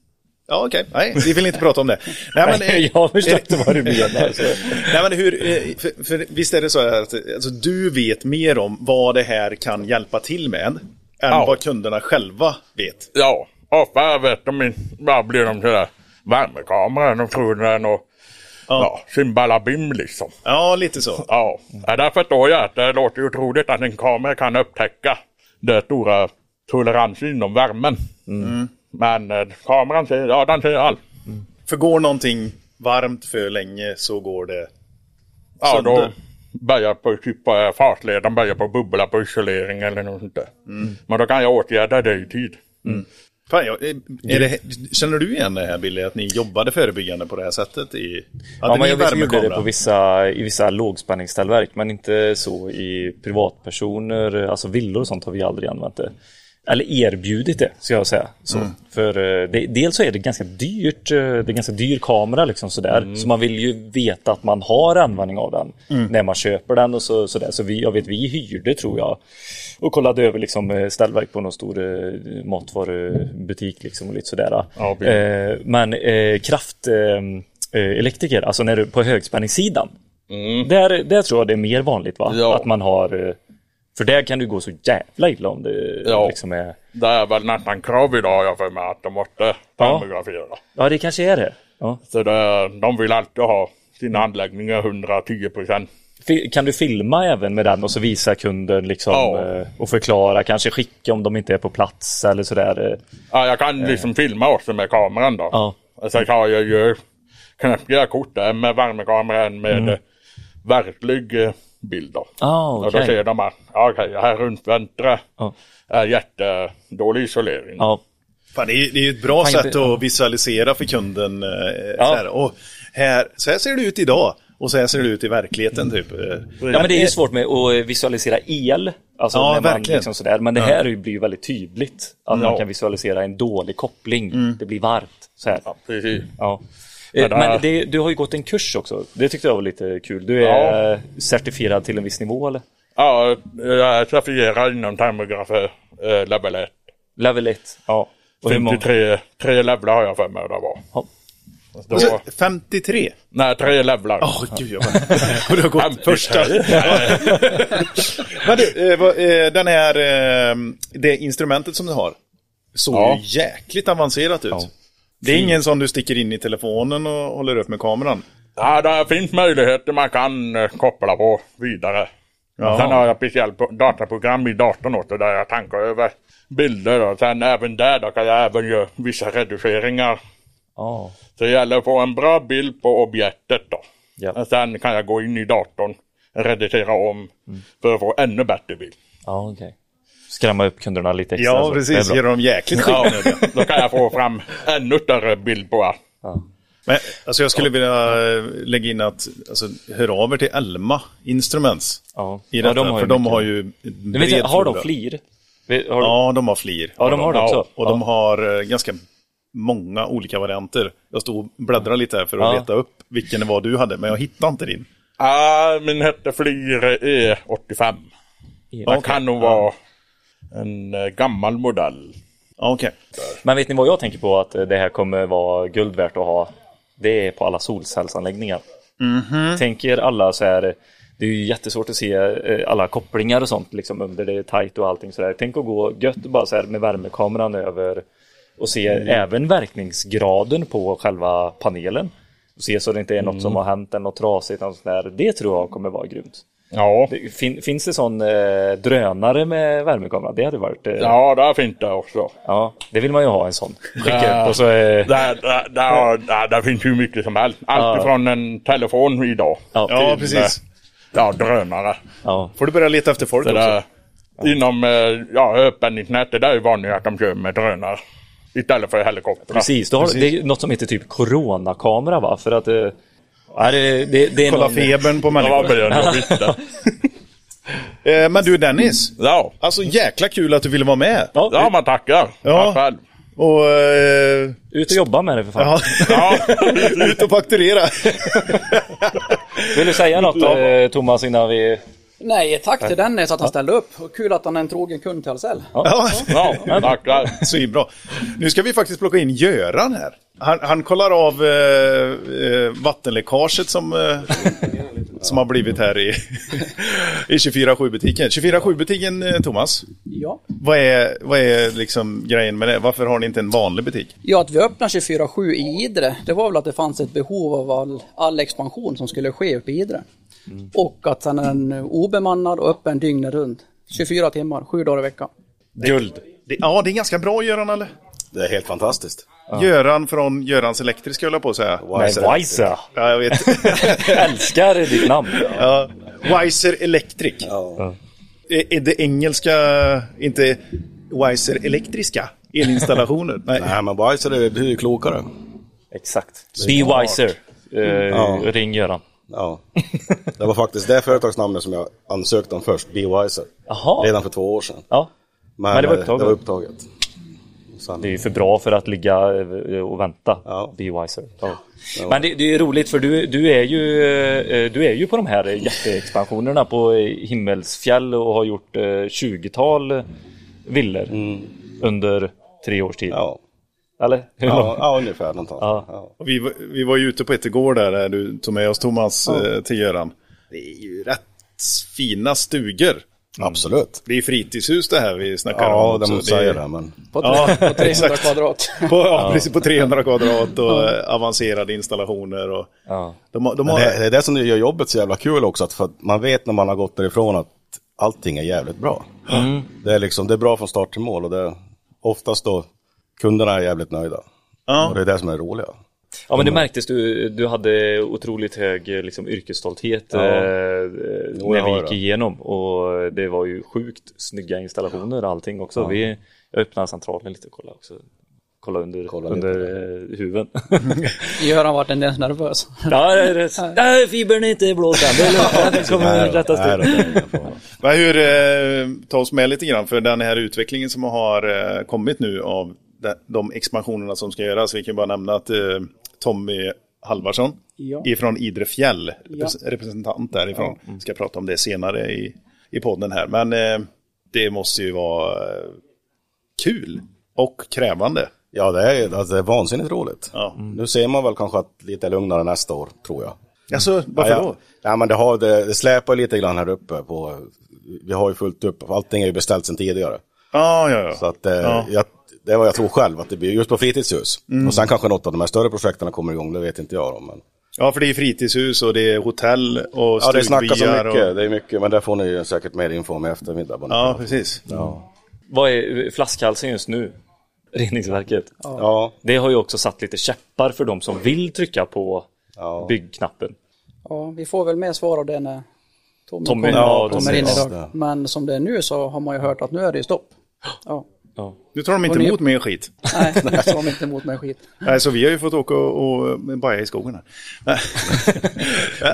Speaker 1: Ja, okej. Nej, vi vill inte prata
Speaker 4: <laughs>
Speaker 1: om det. Nej, men, eh,
Speaker 4: Nej, jag förstod inte vad du
Speaker 1: <laughs>
Speaker 4: menar. alltså. Så.
Speaker 1: Nej, men hur, eh, för, för visst är det så här att alltså, du vet mer om vad det här kan hjälpa till med än
Speaker 7: Ja.
Speaker 1: vad kunderna själva vet?
Speaker 7: Ja, ofta vet de inte, bara blir de sådär värmekameran och tror den är något, ja, simbalabim liksom.
Speaker 1: Ja, lite så.
Speaker 7: Ja, ja där förstår jag att det låter ju otroligt att en kamera kan upptäcka den stora toleransen inom värmen.
Speaker 1: Mm.
Speaker 7: Men eh, kameran ser, ja den ser allt.
Speaker 1: För går någonting varmt för länge så går det...
Speaker 7: Ja, då
Speaker 1: Sönder.
Speaker 7: börjar på typ eh, fartledaren börjar på att bubbla på isolering eller något sånt där.
Speaker 1: Mm.
Speaker 7: Men då kan jag åtgärda det i tid.
Speaker 1: Fan, jag, eh, är det, känner du igen det här Billy, att ni jobbade förebyggande på det här sättet? I,
Speaker 4: Ja,
Speaker 1: hade
Speaker 4: men
Speaker 1: ni
Speaker 4: jag vet att vi gjorde det på
Speaker 1: värmekamera?
Speaker 4: vissa, i vissa lågspänningsställverk, men inte så i privatpersoner, alltså villor och sånt har vi aldrig använt det. Eller erbjudit det, ska jag säga. Så. För eh, det, dels så är det ganska dyrt, eh, det är ganska dyr kamera liksom sådär. Så man vill ju veta att man har användning av den när man köper den och så, sådär. Så vi, jag vet, vi hyrde tror jag och kollade över liksom eh, ställverk på någon stor eh, matvarubutik liksom och lite sådär.
Speaker 7: Ja, precis.
Speaker 4: Eh, men eh, kraft... Eh, eh, elektriker, alltså när du, på högspänningssidan. Där, där tror jag det är mer vanligt va?
Speaker 7: Mm. Ja.
Speaker 4: Att man har... eh, För där kan du gå så jävla illa om det
Speaker 7: Ja.
Speaker 4: liksom är...
Speaker 7: Det är väl nästan krav idag har jag för mig att de måste
Speaker 4: Ja.
Speaker 7: termografera.
Speaker 4: Ja, det kanske är det. Ja.
Speaker 7: Så det, de vill alltid ha sina anläggningar 110 procent.
Speaker 4: Fi- Kan du filma även med den och så visa kunden liksom,
Speaker 7: Ja.
Speaker 4: eh, och förklara, kanske skicka om de inte är på plats eller sådär. eh.
Speaker 7: Ja, jag kan liksom filma också med kameran då.
Speaker 4: Ja.
Speaker 7: Och Sen har jag ju knäppiga kort där med värmekameran med mm. verklig eh, bild då.
Speaker 4: Ah, okej.
Speaker 7: Och då ser de att ja, okej, här runt väntre
Speaker 4: Ja.
Speaker 7: är jättedålig isolering.
Speaker 4: Ja.
Speaker 1: Fan, det, är, det är ju ett bra
Speaker 4: Fan,
Speaker 1: sätt
Speaker 4: det-
Speaker 1: att visualisera för kunden. eh, Så, här, och här, så här ser det ut idag och så här ser det ut i verkligheten. Typ.
Speaker 4: ja, men det är ju svårt med att visualisera el. Alltså
Speaker 1: Ja,
Speaker 4: när man
Speaker 1: verkligen.
Speaker 4: liksom sådär. Men det här är ju- blir ju väldigt tydligt. Att man kan visualisera en dålig koppling. Det blir varmt. Så här.
Speaker 7: Ja, precis.
Speaker 4: Ja.
Speaker 7: Men
Speaker 4: Men,
Speaker 7: det-
Speaker 4: Mm. Eh, men det, du har ju gått en kurs också. Det tyckte jag var lite kul. Du är eh, certifierad till en viss nivå eller?
Speaker 7: Ja, jag certifierar inom termograf eh, level 1.
Speaker 4: Level 1. Ja. Och hur många?
Speaker 7: 53 tre levlar har jag för mig det var.
Speaker 4: Ja.
Speaker 7: Då,
Speaker 1: 53?
Speaker 7: nej, tre levlar.
Speaker 1: Åh, gud <laughs> jag bara... Du har gått första.
Speaker 7: Ja.
Speaker 1: <laughs> Men du, eh, vad, eh, den här, eh, det instrumentet som du har såg
Speaker 7: Ja.
Speaker 1: ju jäkligt avancerat ut. Det är ingen som du sticker in i telefonen och håller upp med kameran.
Speaker 7: Ja, det finns möjligheter man kan eh, koppla på vidare. Sen har jag speciellt po- dataprogram i datorn också där jag tankar över bilder och sen även där då kan jag även göra vissa reduceringar.
Speaker 4: Ja.
Speaker 7: Så det gäller att få en bra bild på objektet då.
Speaker 4: Ja.
Speaker 7: Och sen kan jag gå in i datorn, redigera om för att få ännu bättre bild.
Speaker 4: Mm. Ja, okej. Skrämma upp kunderna lite extra.
Speaker 1: Ja,
Speaker 4: så.
Speaker 1: precis.
Speaker 4: Det
Speaker 1: Ger
Speaker 4: är bra.
Speaker 1: dem jäkligt skit.
Speaker 7: Ja, då kan jag få fram ännu större bild på allt.
Speaker 1: Men, alltså jag skulle vilja eh, lägga in att alltså, hör av er till Elma Instruments.
Speaker 4: Ja.
Speaker 1: I
Speaker 4: Ja,
Speaker 1: detta,
Speaker 4: de har ju
Speaker 1: för de
Speaker 4: mycket.
Speaker 1: har ju
Speaker 4: Men vet jag, har de
Speaker 1: flora.
Speaker 4: flir? Vet- Har de...
Speaker 1: Ja, de har flir.
Speaker 4: Ja, de har det
Speaker 7: Ja,
Speaker 4: också.
Speaker 1: Och de har eh, ganska många olika varianter. Jag stod och bläddrade lite här för att
Speaker 4: Ja.
Speaker 1: leta upp vilken det var du hade, men jag hittade inte din.
Speaker 7: Ah, min hette Flyre E85.
Speaker 4: E-
Speaker 7: Den kan nog vara en eh, gammal modell.
Speaker 1: Ja, Okej.
Speaker 4: Men vet ni vad jag tänker på att eh, det här kommer vara guld värt att ha? Det är på alla solcellsanläggningar. Tänker alla så här, det är ju jättesvårt att se eh, alla kopplingar och sånt liksom under det är tajt och allting sådär. Tänk att gå gött bara så här med värmekameran över och se även verkningsgraden på själva panelen. Och se så det inte är något som har hänt eller något trasigt. eller något sånt där. Det tror jag kommer vara grymt.
Speaker 7: Ja,
Speaker 4: Det- Fin, finns det sån eh, drönare med värmekamera? Det hade varit... Eh,
Speaker 7: ja det är fint det också.
Speaker 4: Ja, det vill man ju ha en sån. Skicka
Speaker 7: Ja.
Speaker 4: upp och så... eh,
Speaker 7: Där, där, där, där, där finns hur mycket som helst.
Speaker 4: Ja.
Speaker 7: Allt ifrån en telefon idag. eh,
Speaker 1: Ja,
Speaker 4: till-
Speaker 1: precis.
Speaker 7: Ja, drönare.
Speaker 4: Ja.
Speaker 1: Får du börja leta efter folk
Speaker 7: Det
Speaker 1: också.
Speaker 7: där, inom eh, ja, öppningsnätet där är det vanligt att de kör med drönare. Istället för helikoptrar.
Speaker 4: Precis, då har,
Speaker 1: Precis.
Speaker 4: det är något som heter typ coronakamera va? För att... eh, Ja, det, det, det är
Speaker 1: Kolla
Speaker 4: någon-
Speaker 1: febern på
Speaker 7: Ja, vad
Speaker 1: människor.
Speaker 7: blir det?
Speaker 4: <laughs>
Speaker 7: Jag
Speaker 1: <laughs>
Speaker 7: visste.
Speaker 1: Eh, men du Dennis,
Speaker 7: Ja,
Speaker 1: alltså jäkla kul att du ville vara med.
Speaker 7: ja man tackar.
Speaker 1: Ja.
Speaker 7: Tack själv.
Speaker 1: Och... Eh,
Speaker 4: Ut och jobba med det för fan.
Speaker 1: ja.
Speaker 7: Ja,
Speaker 1: <laughs> Ut och fakturera.
Speaker 4: Vill du säga något eh, Thomas innan vi...
Speaker 8: Nej, tack till Dennis att han ställde upp. Och kul att han är en trogen kund till Ahlsell.
Speaker 1: ja.
Speaker 7: ja, tackar.
Speaker 1: Svinbra. Nu ska vi faktiskt plocka in Göran här. Han, han kollar av eh, eh, vattenläckaget som, eh, som har blivit här i, i 24-7-butiken. 24-7-butiken, eh, Thomas,
Speaker 8: Ja.
Speaker 1: vad är, vad är liksom grejen med det? Varför har ni inte en vanlig butik?
Speaker 8: ja, att vi öppnar 24-7 i Idre, det var väl att det fanns ett behov av all, all expansion som skulle ske uppe i Idre.
Speaker 4: Mm.
Speaker 8: Och att sen är den obemannad och öppen dygnet runt. 24 timmar, 7 dagar i veckan.
Speaker 4: Guld.
Speaker 1: Det, ja, det är ganska bra, Göran, eller?
Speaker 9: Det är helt fantastiskt.
Speaker 1: Göran från Görans Elektriska, höll jag på att säga.
Speaker 4: Nej, Wiser.
Speaker 1: Ja, jag vet.
Speaker 4: <laughs> Älskar ditt namn.
Speaker 1: Ja. Wiser Electric.
Speaker 9: Ja.
Speaker 1: Är, är det engelska, inte Wiser Elektriska? Elinstallationer? Nej.
Speaker 9: Nej, men Wiser är, det är ju klokare.
Speaker 4: Exakt. Be Wiser. Eh,
Speaker 9: Ja.
Speaker 4: Ring Göran.
Speaker 9: Ja. Det var faktiskt det företagsnamnet som jag ansökte om först, Be Wiser.
Speaker 4: Jaha.
Speaker 9: Redan för två år sedan. eh,
Speaker 4: Ja. Men det var upptaget.
Speaker 9: Det var upptaget. Sen,
Speaker 4: Det är ju för bra för att ligga eh, och vänta.
Speaker 9: Ja.
Speaker 4: Be wiser. Ja. Men det, det är roligt för du, du, är ju, eh, du är ju på de här jätteexpansionerna på Himmelsfjäll och har gjort eh, 20-tal villor under tre års tid.
Speaker 9: Mm. ja.
Speaker 4: Eller? Hur
Speaker 9: Ja,
Speaker 4: långt?
Speaker 9: ja, ungefär någonstans.
Speaker 4: Ja.
Speaker 9: Ja.
Speaker 1: Och Vi, var- vi var ju ute på ett igår där, där du tog med oss Thomas eh, till Göran. Det är ju rätt fina stugor.
Speaker 9: Mm. Absolut.
Speaker 1: Det är fritidshus det här vi snackar om.
Speaker 9: Ja, det
Speaker 1: också.
Speaker 9: motsäger
Speaker 1: är-
Speaker 9: det, men
Speaker 8: På, tre,
Speaker 1: Ja,
Speaker 8: på 300
Speaker 1: exakt.
Speaker 8: kvadrat.
Speaker 1: På, ja, precis, på 300 kvadrat och eh, avancerade installationer. Och
Speaker 4: Ja.
Speaker 1: de, har- de
Speaker 9: men
Speaker 1: har,
Speaker 9: det, det är det som gör jobbet så jävla kul också, att för att man vet när man har gått därifrån att allting är jävligt bra.
Speaker 1: Mm.
Speaker 9: Det, är liksom, det är bra från start till mål och det är oftast då kunderna är jävligt nöjda.
Speaker 1: Ja.
Speaker 9: Och det är det som är roliga.
Speaker 4: ja, men det
Speaker 9: Mm.
Speaker 4: märktes. Du, du hade otroligt hög eh, liksom, yrkesstolthet
Speaker 9: Ja.
Speaker 4: eh,
Speaker 9: jag
Speaker 4: när vi
Speaker 9: har
Speaker 4: gick
Speaker 9: det.
Speaker 4: igenom. Och det var ju sjukt snygga installationer och allting också. Vi, jag öppnade centralen lite och kollade också. Kolla under,
Speaker 9: Kolla lite.
Speaker 4: under eh, huven. <laughs>
Speaker 8: Göran vart en del nervös.
Speaker 4: Ja, det är rätt. Nej, fibern är inte blåst än. Det är lugnt. Den kommer rättas
Speaker 9: Nej,
Speaker 4: till.
Speaker 9: det är ingen fara.
Speaker 1: Men hur, eh, ta oss med lite grann för den här utvecklingen som har eh, kommit nu av de, de expansionerna som ska göras. Vi kan bara nämna att eh, Tommy Halvarsson
Speaker 8: Ja.
Speaker 1: ifrån Idre Fjäll, repres- representant därifrån, ska prata om det senare i, i podden här. Men eh, det måste ju vara eh, kul och krävande.
Speaker 9: Ja, det är, alltså, det är vansinnigt roligt.
Speaker 1: Ja.
Speaker 9: Nu ser man väl kanske att lite lugnare nästa år, tror jag. Mm.
Speaker 1: Alltså, varför
Speaker 9: ja, ja.
Speaker 1: då?
Speaker 9: Ja, men det, har, det, det släpar lite grann här uppe. På, vi har ju fullt upp, allting är ju beställt sedan tidigare.
Speaker 1: Ja, ja, ja.
Speaker 9: Så att, eh,
Speaker 1: Ja. Mm.
Speaker 9: jag, det är vad jag tror själv att det blir, just på fritidshus. Och sen kanske något av de här större projekten kommer igång, det vet inte jag om. Men...
Speaker 1: ja, för det är fritidshus och det är hotell och
Speaker 9: Ja, det
Speaker 1: stugbyar.
Speaker 9: snackas så mycket,
Speaker 1: Och...
Speaker 9: det är mycket, men det får ni ju säkert mer info om i eftermiddag. vad ni
Speaker 1: Ja,
Speaker 9: pratar.
Speaker 1: precis. Mm.
Speaker 9: ja.
Speaker 4: Vad är flaskhalsen just nu? Reningsverket.
Speaker 9: Ja.
Speaker 4: Det har ju också satt lite käppar för de som vill trycka på
Speaker 9: Ja.
Speaker 4: byggknappen.
Speaker 8: Ja, vi får väl mer svar av det när Tommy,
Speaker 4: Tommy,
Speaker 8: kommer,
Speaker 4: ja,
Speaker 8: kommer in
Speaker 9: precis.
Speaker 8: idag. Men som det är nu så har man ju hört att nu är det ju stopp. Ja.
Speaker 4: Ja.
Speaker 1: Nu tar de inte
Speaker 8: Och ni-
Speaker 1: emot mer skit. <laughs>
Speaker 8: Nej, nu tar de inte emot mig skit.
Speaker 1: Nej, så vi har ju fått åka och, och baja i skogen här.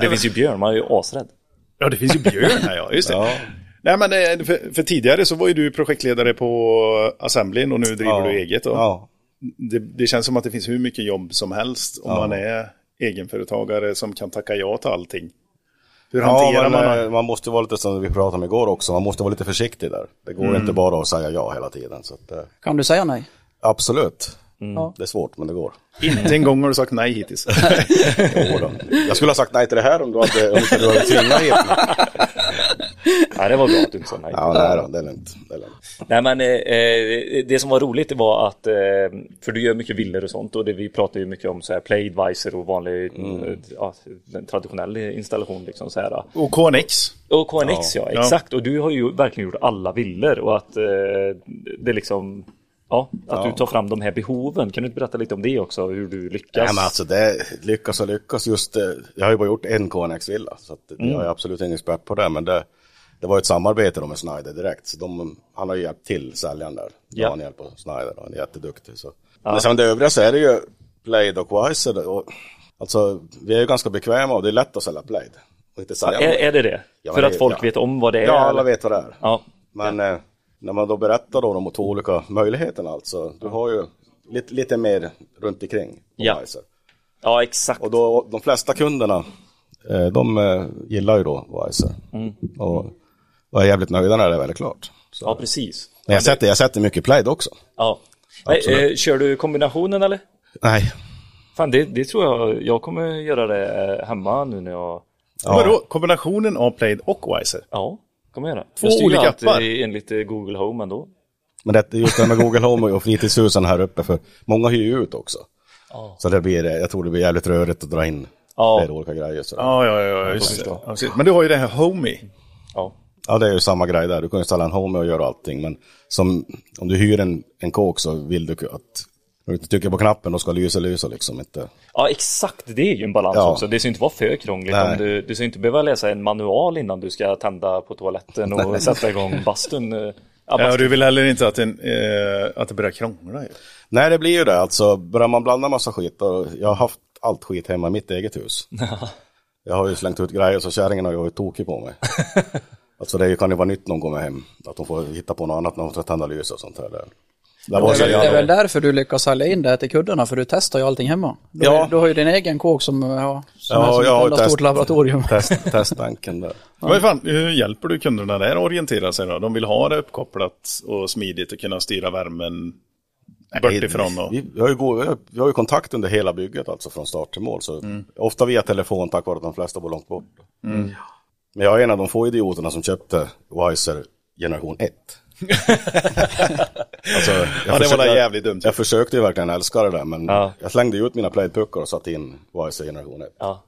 Speaker 4: <laughs> Det finns ju björn, man är ju asrädd.
Speaker 1: Ja, det finns ju björn här, ja. Just det.
Speaker 9: Ja.
Speaker 1: Nej, men eh, för, för tidigare så var ju du projektledare på Assemblin och nu driver
Speaker 9: Ja.
Speaker 1: du eget. Då.
Speaker 9: Ja.
Speaker 1: det, det känns som att det finns hur mycket jobb som helst om man är egenföretagare som kan tacka ja till allting. Hur hanterar
Speaker 9: Ja,
Speaker 1: man
Speaker 9: man,
Speaker 1: det?
Speaker 9: eh, man måste vara lite som vi pratade om igår också, man måste vara lite försiktig där. Det går
Speaker 1: Mm.
Speaker 9: inte bara att säga ja hela tiden. Så att, eh,
Speaker 8: Kan du säga nej?
Speaker 9: absolut,
Speaker 8: Ja.
Speaker 9: det är svårt men det går.
Speaker 1: Mm. Inte en gång har du sagt nej hittills.
Speaker 9: <laughs> Jo då. Jag skulle ha sagt nej till det här om du hade, om inte du hade tvingat
Speaker 1: <laughs>
Speaker 9: hit mig.
Speaker 4: Nej, det var bra att du inte sa nej.
Speaker 9: Ja, nej då, det är lugnt. Det är lugnt.
Speaker 4: Nej men eh, eh, det som var roligt det var att, eh, för du gör mycket villor och sånt och det, vi pratar ju mycket om så här playadvisor och vanlig
Speaker 9: Mm.
Speaker 4: eh, ja, en traditionell installation liksom så här.
Speaker 1: Och KNX.
Speaker 4: Och KNX ja,
Speaker 1: Ja.
Speaker 4: exakt och du har ju verkligen gjort alla villor och att eh, det liksom Ja, att du tar fram de här behoven. Kan du inte berätta lite om det också? Hur du lyckas?
Speaker 9: Ja, men alltså det lyckas och lyckas. Just, eh, jag har ju bara gjort en KNX-villa, så att
Speaker 4: Mm.
Speaker 9: jag är absolut ingen expert på det. Men det, det var ett samarbete då med Snyder direkt. Så de, han har ju hjälpt till, säljaren där.
Speaker 4: Ja.
Speaker 9: Daniel på Snyder, och han är jätteduktig. Så. Men sen det övriga så är det ju Plaid och Quaiser. Och, alltså, vi är ju ganska bekväma och det är lätt att sälja Plaid. Och inte sälja
Speaker 4: är, är det det?
Speaker 9: Ja,
Speaker 4: För
Speaker 9: det-
Speaker 4: att folk
Speaker 9: ja.
Speaker 4: vet om vad det är?
Speaker 9: Ja, alla
Speaker 4: eller?
Speaker 9: vet vad det är.
Speaker 4: Ja.
Speaker 9: Men eh, när man då berättar då de två olika möjligheterna alltså. Du har ju lite, lite mer runt omkring. på
Speaker 4: Ja.
Speaker 9: Quaiser.
Speaker 4: ja, exakt.
Speaker 9: Och då, de flesta kunderna, eh, de eh, gillar ju då Wiser.
Speaker 4: Mm.
Speaker 9: Och, och är jävligt nöjda när det är väldigt klart. Så.
Speaker 4: Ja, precis.
Speaker 9: Men jag sätter, jag sätter mycket Plaid också.
Speaker 4: Ja. Nej,
Speaker 9: Absolut.
Speaker 4: eh, kör du kombinationen eller?
Speaker 9: Nej.
Speaker 4: Fan, det, det tror jag. Jag kommer göra det eh, hemma nu när jag...
Speaker 9: Ja.
Speaker 1: Vadå? Kombinationen av Plaid och Wiser?
Speaker 4: Ja, kommer jag göra.
Speaker 1: Två
Speaker 4: jag styr ju
Speaker 1: olika
Speaker 4: alltid
Speaker 1: appar.
Speaker 4: enligt eh, Google Home ändå.
Speaker 9: Men det, just det här med Google Home och fritidshusen här uppe, för många hyr ju ut också. Så det blir, eh, jag tror det blir jävligt rörigt att dra in
Speaker 4: Ja.
Speaker 9: flera olika grejer. Så. Ja.
Speaker 1: Ja, ja, ja, just det. Ja, precis. Men du har ju det här Homey.
Speaker 4: Ja.
Speaker 9: det är ju samma grej där. Du kan ju ställa en Home och göra allting. Men som, om du hyr en, en kåk så vill du att, om du inte trycker på knappen då ska lysa lysa liksom inte.
Speaker 4: ja, exakt. Det är ju en balans
Speaker 9: Ja.
Speaker 4: också. Det ska inte vara för krångligt.
Speaker 9: Nej.
Speaker 4: Om du, du ska inte behöva läsa en manual innan du ska tända på toaletten
Speaker 9: <laughs>
Speaker 4: och sätta igång bastun. eh, Ja,
Speaker 1: Ja,
Speaker 4: bastun. <laughs>
Speaker 1: du vill heller inte att, en, eh, att det börjar krångla. ju.
Speaker 9: Nej, det blir ju det. Alltså, börjar man blanda massa skit, och jag har haft allt skit hemma i mitt eget hus. jag har ju slängt ut grejer så kärringen har ju varit tokig på
Speaker 8: <laughs>
Speaker 9: mig. alltså det kan ju vara nytt någon gång hem, att de får hitta på något annat när de ska tända ljus och sånt här. Där. Där
Speaker 8: Det
Speaker 9: var
Speaker 8: är, väl, det är väl
Speaker 9: jag,
Speaker 8: därför du lyckas sälja in det här till kuddarna, för du testar ju allting hemma. Du,
Speaker 9: Ja.
Speaker 8: har, du har ju din egen kåk som, ja, som
Speaker 9: Ja,
Speaker 8: är som
Speaker 9: jag har
Speaker 8: ett enda
Speaker 9: test-
Speaker 8: stort laboratorium.
Speaker 9: test,
Speaker 8: <laughs>
Speaker 9: testtanken där.
Speaker 1: Vad fan, hur hjälper du kunderna där att orientera sig då? De vill ha det uppkopplat och smidigt och kunna styra värmen bortifrån. Och...
Speaker 9: Vi, jag, har ju gå, jag har ju kontakt under hela bygget alltså från start till mål. Så
Speaker 8: Mm.
Speaker 9: Ofta via telefon tack vare att de flesta bor långt bort.
Speaker 1: Mm.
Speaker 9: Men jag är en av de få idioterna som köpte Wiser generation 1.
Speaker 1: <laughs>
Speaker 9: alltså, jag
Speaker 1: var
Speaker 9: försökte-
Speaker 1: väl jävligt dumt.
Speaker 9: Jag försökte ju verkligen älska det där men
Speaker 4: Ja.
Speaker 9: jag slängde ju ut mina plaidpuckar och satte in Wiser generation 1.
Speaker 4: Ja.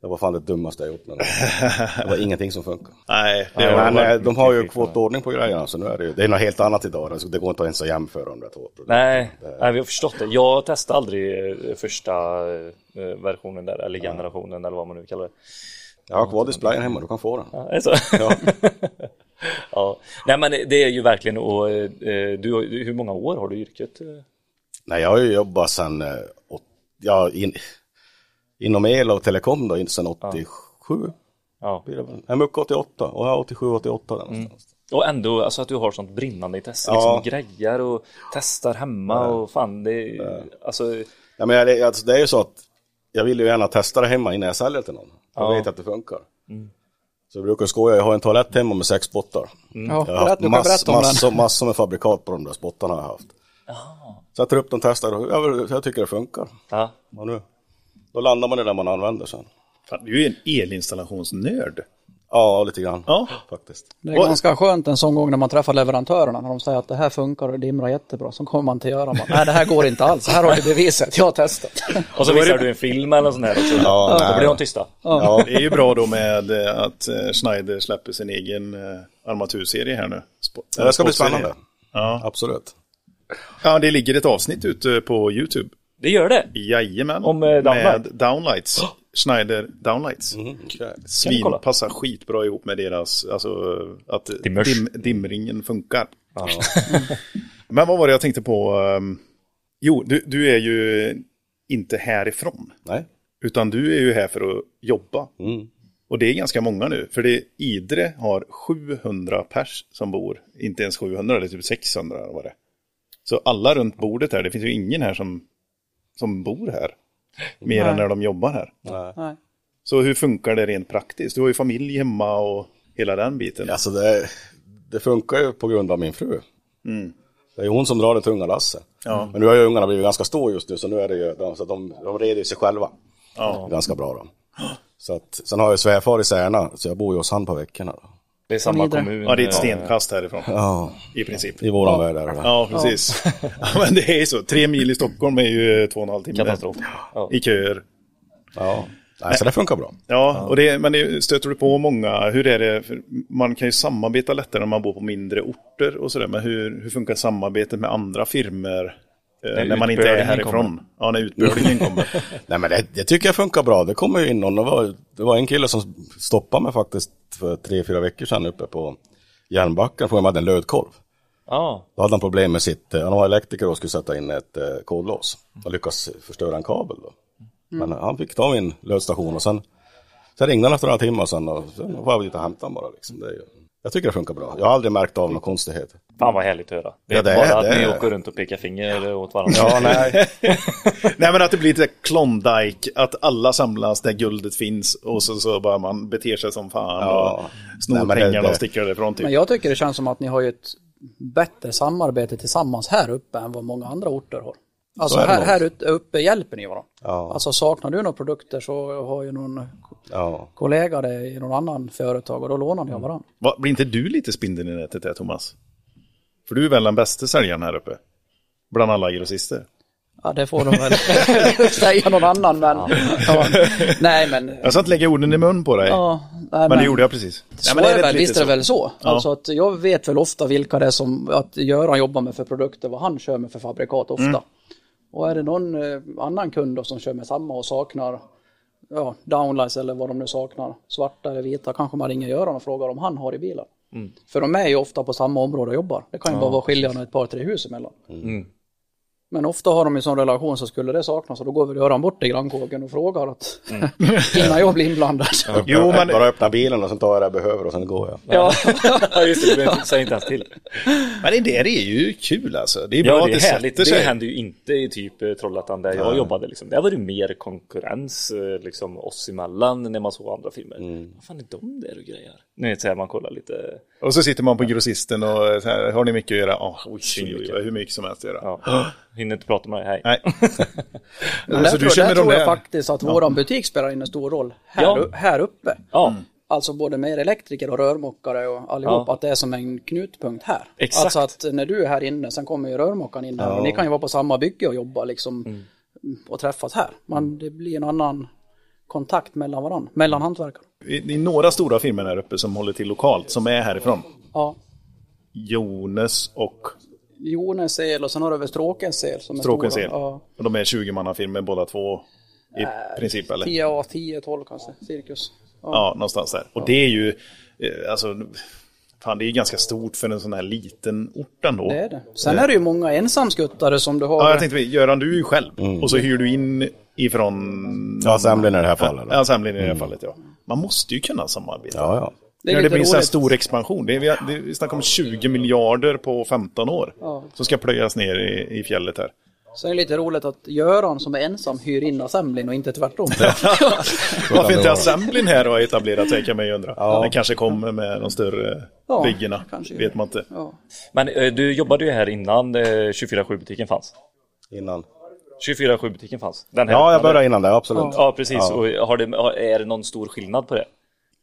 Speaker 9: Det var fan det dummaste jag gjort. Men det var ingenting som funkade.
Speaker 1: Nej, <laughs> det
Speaker 9: Men
Speaker 1: var...
Speaker 9: eh, de har ju fått ordning på grejerna så nu är det ju, det är något helt annat idag. alltså, Det går inte ens att jämföra de där två produkterna.
Speaker 4: Nej, nej, vi har förstått det. Jag testade aldrig eh, första eh, versionen där, eller generationen eller vad man nu kallar det.
Speaker 9: Jag har kvar displayen hemma, du kan få den.
Speaker 4: Ja, är det så? <laughs> Ja. Nej men det är ju verkligen och eh, du, har- hur många år har du i yrket?
Speaker 9: Nej, jag har ju jobbat sedan, eh, åt- ja, in, inom el och telekom då, in- sedan 87.
Speaker 4: Ja.
Speaker 9: blir det väl. Nej, mycket 88, och jag är 87, 88 där
Speaker 1: Mm.
Speaker 9: någonstans.
Speaker 4: Och ändå alltså att du har sånt brinnande intresse,
Speaker 9: Ja.
Speaker 4: liksom grejer och testar hemma och fan det alltså
Speaker 9: Ja, men jag, alltså, det är ju så att jag vill ju gärna testa det hemma innan jag säljer till någon. Då
Speaker 4: Ja. Mm.
Speaker 9: vet jag att det funkar. Så jag brukar skoja, jag har en toalett hemma med sex spottar.
Speaker 4: Mm.
Speaker 8: Ja,
Speaker 9: Jag har
Speaker 8: berätta,
Speaker 9: haft
Speaker 8: du kan
Speaker 9: mass,
Speaker 8: berätta om den.
Speaker 9: massor, massor med fabrikat på de där spottarna jag har haft. Så jag tar upp dem, testar och jag, jag tycker det funkar.
Speaker 4: ja.
Speaker 9: Och nu, då landar man i det man använder sen.
Speaker 1: Fan, du är ju en elinstallationsnörd.
Speaker 9: Ja, lite grann
Speaker 1: Ja.
Speaker 9: faktiskt.
Speaker 8: Det är ganska skönt en sån gång när man träffar leverantörerna, när de säger att det här funkar och dimrar jättebra, så kommer man till göra man, nej det här går inte alls, här har du beviset, jag har
Speaker 9: <laughs>
Speaker 8: testat.
Speaker 4: Och så visar du en film eller sån här också.
Speaker 9: Ja,
Speaker 4: Då
Speaker 9: nej.
Speaker 4: blir de tysta.
Speaker 1: Ja. Det är ju bra då med eh, att eh, Schneider släpper sin egen eh, armaturserie här nu. Spot-
Speaker 9: Ja, det ska bli
Speaker 1: spotserie.
Speaker 9: spännande.
Speaker 1: Ja.
Speaker 9: Absolut.
Speaker 1: ja, det ligger ett avsnitt ute på YouTube.
Speaker 4: Det gör det.
Speaker 1: Jajamän.
Speaker 4: Om, eh, Downlight.
Speaker 1: Med Downlights. Schneider Downlights.
Speaker 4: Kan vi
Speaker 1: Svin
Speaker 4: kolla?
Speaker 1: passar skitbra ihop med deras, alltså att
Speaker 4: Dimmers.
Speaker 1: dim, dimringen funkar. <laughs> Men vad var det jag tänkte på? ehm, Jo, du, du är ju inte härifrån,
Speaker 9: Nej.
Speaker 1: utan du är ju här för att jobba. Och det är ganska många nu, för det, Idre har 700 pers som bor, inte ens 700, det är typ 600 eller vad det är, Så alla runt bordet här, det finns ju ingen här som, som bor här. Mer än
Speaker 8: Nej.
Speaker 1: när de jobbar här.
Speaker 8: Nej.
Speaker 1: Så hur funkar det rent praktiskt? Du har ju familj hemma och hela den biten.
Speaker 9: Alltså det, det funkar ju på grund av min fru.
Speaker 1: Mm.
Speaker 9: Det är ju hon som drar det tunga lasset.
Speaker 1: Ja.
Speaker 9: Men nu har ju ungarna blivit ganska stora just nu så nu är det ju, de, så att de, de reder ju sig själva.
Speaker 1: Ja.
Speaker 9: Ganska bra de. Så att, sen har jag ju svärfar i Särna så jag bor ju hos han på veckorna. då.
Speaker 10: Det är samma
Speaker 8: Vidare.
Speaker 10: kommun.
Speaker 1: ja, det är ett
Speaker 10: eh,
Speaker 1: stenkast härifrån
Speaker 9: Ja,
Speaker 1: i princip.
Speaker 9: i våran värld är det där.
Speaker 1: Ja, precis. <laughs> Ja, men det är ju så. Tre mil i Stockholm är ju två och en halv timme.
Speaker 10: Katastrof. Ja.
Speaker 1: I köer.
Speaker 9: Ja. Nej, så det funkar bra.
Speaker 1: Ja, och det, men det stöter du på många? Hur är det? För man kan ju samarbeta lättare när man bor på mindre orter och sådär, men hur, hur funkar samarbetet med andra firmor eh, när man inte är
Speaker 10: utbördningen
Speaker 1: härifrån?
Speaker 10: kommer.
Speaker 1: Ja,
Speaker 9: <laughs>
Speaker 1: när utbördningen kommer.
Speaker 9: Nej men det, det tycker jag funkar bra. Det kommer ju in någon. Det var, det var en kille som stoppade mig faktiskt för tre, fyra veckor sedan uppe på Järnbacken. Frågade om jag hade en lödkorv.
Speaker 10: Ja,
Speaker 9: Då hade han problem med sitt, eh, han var elektriker och skulle sätta in ett eh, kodlås. Och lyckas förstöra en kabel då.
Speaker 10: Mm.
Speaker 9: Men han fick ta min lödstation och sen, sen ringde han efter några timmar sen och sen var jag dit och hämtade honom bara liksom. Det är ju, jag tycker det funkar bra. Jag har aldrig märkt av några konstigheter.
Speaker 10: fan vad härligt att höra. Det är
Speaker 9: Ja, det
Speaker 10: bara
Speaker 9: är-
Speaker 10: att
Speaker 9: det
Speaker 10: ni
Speaker 9: är-
Speaker 10: åker runt och pekar finger åt varandra.
Speaker 9: Ja, nej.
Speaker 10: <laughs>
Speaker 1: Nej, men att det blir lite Klondike, att alla samlas där guldet finns och så, så bara man beter sig som fan
Speaker 9: Ja.
Speaker 1: och
Speaker 9: Nej,
Speaker 1: snor
Speaker 9: men det-
Speaker 1: pengarna och
Speaker 9: det-
Speaker 1: sticker därifrån typ.
Speaker 8: Men jag tycker det känns som att ni har ju ett bättre samarbete tillsammans här uppe än vad många andra orter har. Alltså
Speaker 9: är det
Speaker 8: här,
Speaker 9: nog.
Speaker 8: här ut- uppe hjälper ni varandra.
Speaker 9: Ja.
Speaker 8: Alltså saknar du några produkter så har ju någon
Speaker 9: Ja.
Speaker 8: kollega det i någon annan företag och då lånar
Speaker 9: Mm.
Speaker 8: ni av varandra.
Speaker 1: Va, blir inte du lite spindeln i nätet där, Thomas? För du är väl den bästa säljaren här uppe? Bland alla grossister.
Speaker 8: Ja det får de väl <laughs> säga någon annan men... Ja. Nej men...
Speaker 1: Jag ska inte lägga orden i mun på dig,
Speaker 8: Ja, nej,
Speaker 1: men det gjorde jag precis.
Speaker 8: Så
Speaker 1: Nej, men
Speaker 8: är det
Speaker 1: rätt
Speaker 8: väl,
Speaker 1: lite
Speaker 8: visst är det väl så.
Speaker 1: Ja.
Speaker 8: Alltså att jag vet väl ofta vilka det är som att Göran jobbar med för produkter, vad han kör med för fabrikat ofta.
Speaker 1: Mm.
Speaker 8: Och är det någon eh, annan kund då som kör med samma och saknar ja, downlines eller vad de nu saknar, svarta eller vita, kanske man ringer Göran och frågar om han har i bilen. För de är ju ofta på samma område och jobbar. Det kan ju bara vara skillnaden ett par, tre hus emellan. Men ofta har de en sån relation så skulle det saknas och då går väl Göran bort till grannkåken och frågar att
Speaker 10: Mm.
Speaker 8: innan jag blir inblandad.
Speaker 1: Jo, men-
Speaker 9: Bara öppna bilen och sen tar jag det jag behöver och sen går jag.
Speaker 10: Ja,
Speaker 8: <laughs>
Speaker 10: ja just det. Men Säg inte ens till.
Speaker 1: Men det där är ju kul alltså. Det är bra
Speaker 10: Ja, det
Speaker 1: att
Speaker 10: är
Speaker 1: det
Speaker 10: härligt.
Speaker 1: sätter
Speaker 10: Det
Speaker 1: sig.
Speaker 10: hände ju inte i typ eh, Trollhättan där jag jobbade. Liksom. Där var det mer konkurrens eh, liksom, oss emellan när man såg andra filmer.
Speaker 1: Mm.
Speaker 10: Vad fan är de där och grejer? Nu vet, så här, man kollar lite.
Speaker 1: Och så sitter man på grossisten och så här, har ni mycket att göra? Oh, oj, oj, oj, oj, hur mycket som helst att göra.
Speaker 10: Ja. Hinner inte prata med dig. Hej.
Speaker 1: <laughs> Nej.
Speaker 8: Men
Speaker 1: så
Speaker 8: där
Speaker 1: du
Speaker 8: tror,
Speaker 1: känner
Speaker 8: där
Speaker 1: de
Speaker 8: tror jag
Speaker 1: där?
Speaker 8: faktiskt att våran butik spelar in en stor roll här,
Speaker 10: Ja.
Speaker 8: u- här uppe.
Speaker 10: Ja,
Speaker 1: Mm.
Speaker 8: Alltså både med er elektriker och rörmokare och allihop,
Speaker 10: Ja.
Speaker 8: att det är som en knutpunkt här.
Speaker 10: Exakt.
Speaker 8: Alltså att när du är här inne, sen kommer ju rörmokaren in här och ni kan ju vara på samma bygge och jobba liksom och träffas här. Men det blir en annan kontakt mellan varandra, mellan hantverkare.
Speaker 1: Det det är några stora firmor här uppe som håller till lokalt, som är härifrån.
Speaker 8: Ja.
Speaker 1: Jones och
Speaker 8: Jones el och sen har du väl Stråkens el som är
Speaker 1: Stråkens
Speaker 8: stora.
Speaker 1: el.
Speaker 8: Ja. Eh,
Speaker 1: Och De är 20-mannafirmor båda två i princip, eller?
Speaker 8: 10, ja, 10, 12 kanske, cirkus. Ja.
Speaker 1: Ja, någonstans där. Och det är ju, eh, alltså, fan det är ju ganska stort för en sån här liten ort ändå. Eh,
Speaker 8: Det är det. Sen är det ju många ensamskuttare som du har.
Speaker 1: Ja, jag tänkte, Göran du är ju själv
Speaker 9: Mm.
Speaker 1: och så hyr du in ifrån
Speaker 9: Ja, Semlin i det här fallet. då.
Speaker 1: Ja, samlingen i det här fallet ja. Man måste ju kunna samarbeta.
Speaker 9: Mm. Ja, ja.
Speaker 8: det är
Speaker 1: När det
Speaker 8: lite
Speaker 1: blir en sån här
Speaker 8: roligt.
Speaker 1: stor expansion. Det är, vi, det är, vi snackar om 20 miljarder på 15 år. Som ska plöjas ner i, i fjället här.
Speaker 8: Sen är det lite roligt att Göran som är ensam hyr in assemblin och inte tvärtom.
Speaker 1: Varför
Speaker 9: det
Speaker 1: inte
Speaker 9: vara.
Speaker 1: assemblin här har etablerat sig kan man ju undra.
Speaker 9: Ja.
Speaker 1: Den kanske kommer med de större
Speaker 8: Ja,
Speaker 1: byggena.
Speaker 8: kanske gör
Speaker 1: Vet
Speaker 8: det.
Speaker 1: man inte.
Speaker 8: ja.
Speaker 10: Men eh, du jobbade ju här innan eh, 24-7 butiken fanns.
Speaker 9: Innan.
Speaker 10: 24-7 butiken fanns. Den här
Speaker 9: Ja, jag
Speaker 10: öppnade.
Speaker 9: började innan det, absolut.
Speaker 10: Ja, precis.
Speaker 9: Ja.
Speaker 10: Och har det, har- är det någon stor skillnad på det?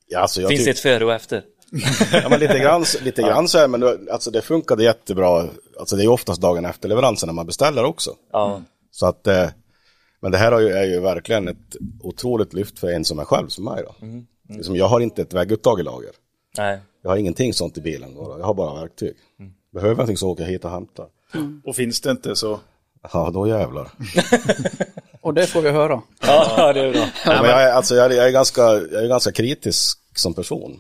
Speaker 9: Ja, alltså, jag
Speaker 10: Finns
Speaker 9: tyck-
Speaker 10: det ett före och efter?
Speaker 9: <laughs> Ja, men lite grann, lite grann så här, men det- alltså, det funkade jättebra. Alltså, det är ju oftast dagen efter leveransen när man beställer också.
Speaker 10: Ja.
Speaker 9: Så att, eh, men det här har ju, är ju verkligen ett otroligt lyft för en som är själv som mig. Då.
Speaker 4: Mm.
Speaker 8: Mm.
Speaker 9: Liksom, jag har inte ett vägguttag i lager.
Speaker 10: Nej.
Speaker 9: Jag har ingenting sånt i bilen. Då, då. Jag har bara verktyg.
Speaker 8: Mm.
Speaker 9: Behöver jag någonting så åker jag hit och hämtar.
Speaker 1: Och finns det inte så...
Speaker 9: Ja, då jävlar.
Speaker 8: Och det får vi höra.
Speaker 10: Ja, <laughs> det är bra.
Speaker 9: Ja, men jag, är, alltså, jag, är, jag, är ganska, jag är ganska kritisk som person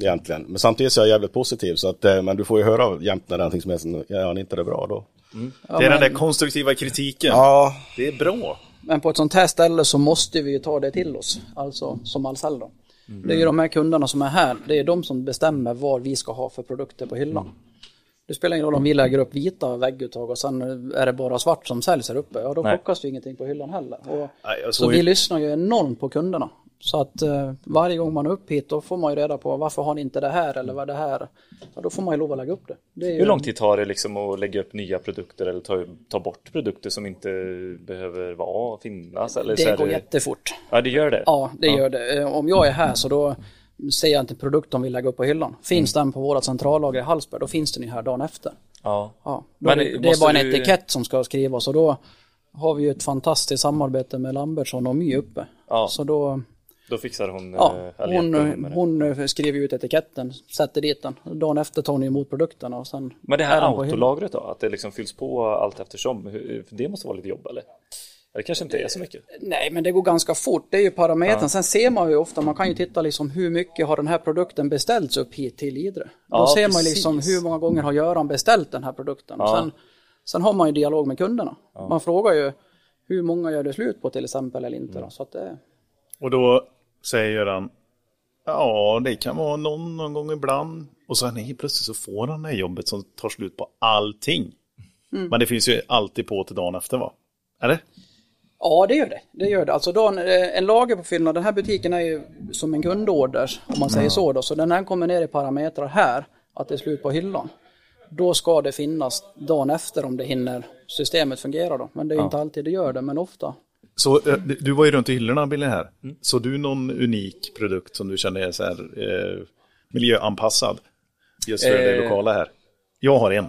Speaker 9: egentligen. Men samtidigt så är jag jävligt positiv. Så att, eh, men du får ju höra jämt när det är någonting som är som, ja, ja, inte det är bra då.
Speaker 1: Mm. det är den där konstruktiva kritiken.
Speaker 9: Ja,
Speaker 1: Det är bra.
Speaker 8: <laughs> Men på ett sånt här ställe så måste vi ju ta det till oss, alltså som Ahlsell då.
Speaker 1: Mm. Mm.
Speaker 8: Det är ju de här kunderna som är här, det är de som bestämmer vad vi ska ha för produkter på hyllan. Det spelar ingen roll om vi lägger upp vita vägguttag och sen är det bara svart som säljs här uppe. Ja, då
Speaker 4: Nej.
Speaker 8: plockas det ju ingenting på hyllan heller. Och,
Speaker 1: Nej, jag
Speaker 8: så
Speaker 1: såg
Speaker 8: vi
Speaker 1: ju,
Speaker 8: lyssnar ju enormt på kunderna. Så att eh, varje gång man är upp hit då får man ju reda på varför har ni inte det här eller vad är det här. Ja, då får man ju lov att lägga upp det. det är ju
Speaker 4: Hur lång tid tar det liksom att lägga upp nya produkter eller ta, ta bort produkter som inte behöver vara, finnas? Eller så
Speaker 8: Det
Speaker 4: är
Speaker 8: går
Speaker 4: det...
Speaker 8: jättefort.
Speaker 4: Ja, det gör det?
Speaker 8: Ja, det gör det. Eh, Om jag är här så då ser jag inte produkten vi lägger upp på hyllan. Finns
Speaker 4: Mm.
Speaker 8: den på våra centrallager i Hallsberg då finns den ju här dagen efter.
Speaker 4: Ja.
Speaker 8: Ja, då
Speaker 4: Men
Speaker 8: är det, det är
Speaker 4: måste
Speaker 8: bara en
Speaker 4: du-
Speaker 8: etikett som ska skrivas och då har vi ju ett fantastiskt samarbete med Lambertsson och My uppe.
Speaker 4: Ja.
Speaker 8: Så då,
Speaker 4: Då fixar hon...
Speaker 8: ja,
Speaker 4: eh, eller
Speaker 8: hon,
Speaker 4: hjälper med det.
Speaker 8: hon eh, skriver ut etiketten, sätter dit den. Dagen efter tar ni emot produkten och sen...
Speaker 4: Men det här
Speaker 8: är den på hyllan.
Speaker 4: autolagret då? Att det liksom fylls på allt eftersom? hur- för Det måste vara lite jobb eller? Det kanske inte är så mycket?
Speaker 8: Nej, men det går ganska fort. Det är ju parametern. Sen ser man ju ofta, man kan ju titta liksom hur mycket har den här produkten beställts upp hit till Idre. Då
Speaker 4: Ja,
Speaker 8: ser man ju
Speaker 4: precis.
Speaker 8: liksom hur många gånger har Göran beställt den här produkten.
Speaker 4: Ja.
Speaker 8: Sen, sen har man ju dialog med kunderna. Man frågar ju hur många gör det slut på till exempel eller inte.
Speaker 4: Mm.
Speaker 8: Då, så att det,
Speaker 1: och då säger Göran, ja det kan vara någon, någon gång ibland. Och sen helt plötsligt så får han det här jobbet som tar slut på allting.
Speaker 8: Mm.
Speaker 1: Men det finns ju alltid på till dagen efter va? Eller?
Speaker 8: Ja, det gör det. Det gör det. Alltså då, en, en lagerpåfyllnad, den här butiken är ju som en grundorder, om man säger så då. Så när den kommer ner i parametrar här, att det är slut på hyllan, då ska det finnas dagen efter om det hinner systemet fungerar då. Men det är ju inte alltid det gör det, men ofta.
Speaker 1: Så eh, du du var ju runt i hyllorna Billy här.
Speaker 10: Mm.
Speaker 1: Så du någon unik produkt som du känner är så här eh, miljöanpassad? Just för det
Speaker 4: Eh.
Speaker 1: lokala här. Jag har en.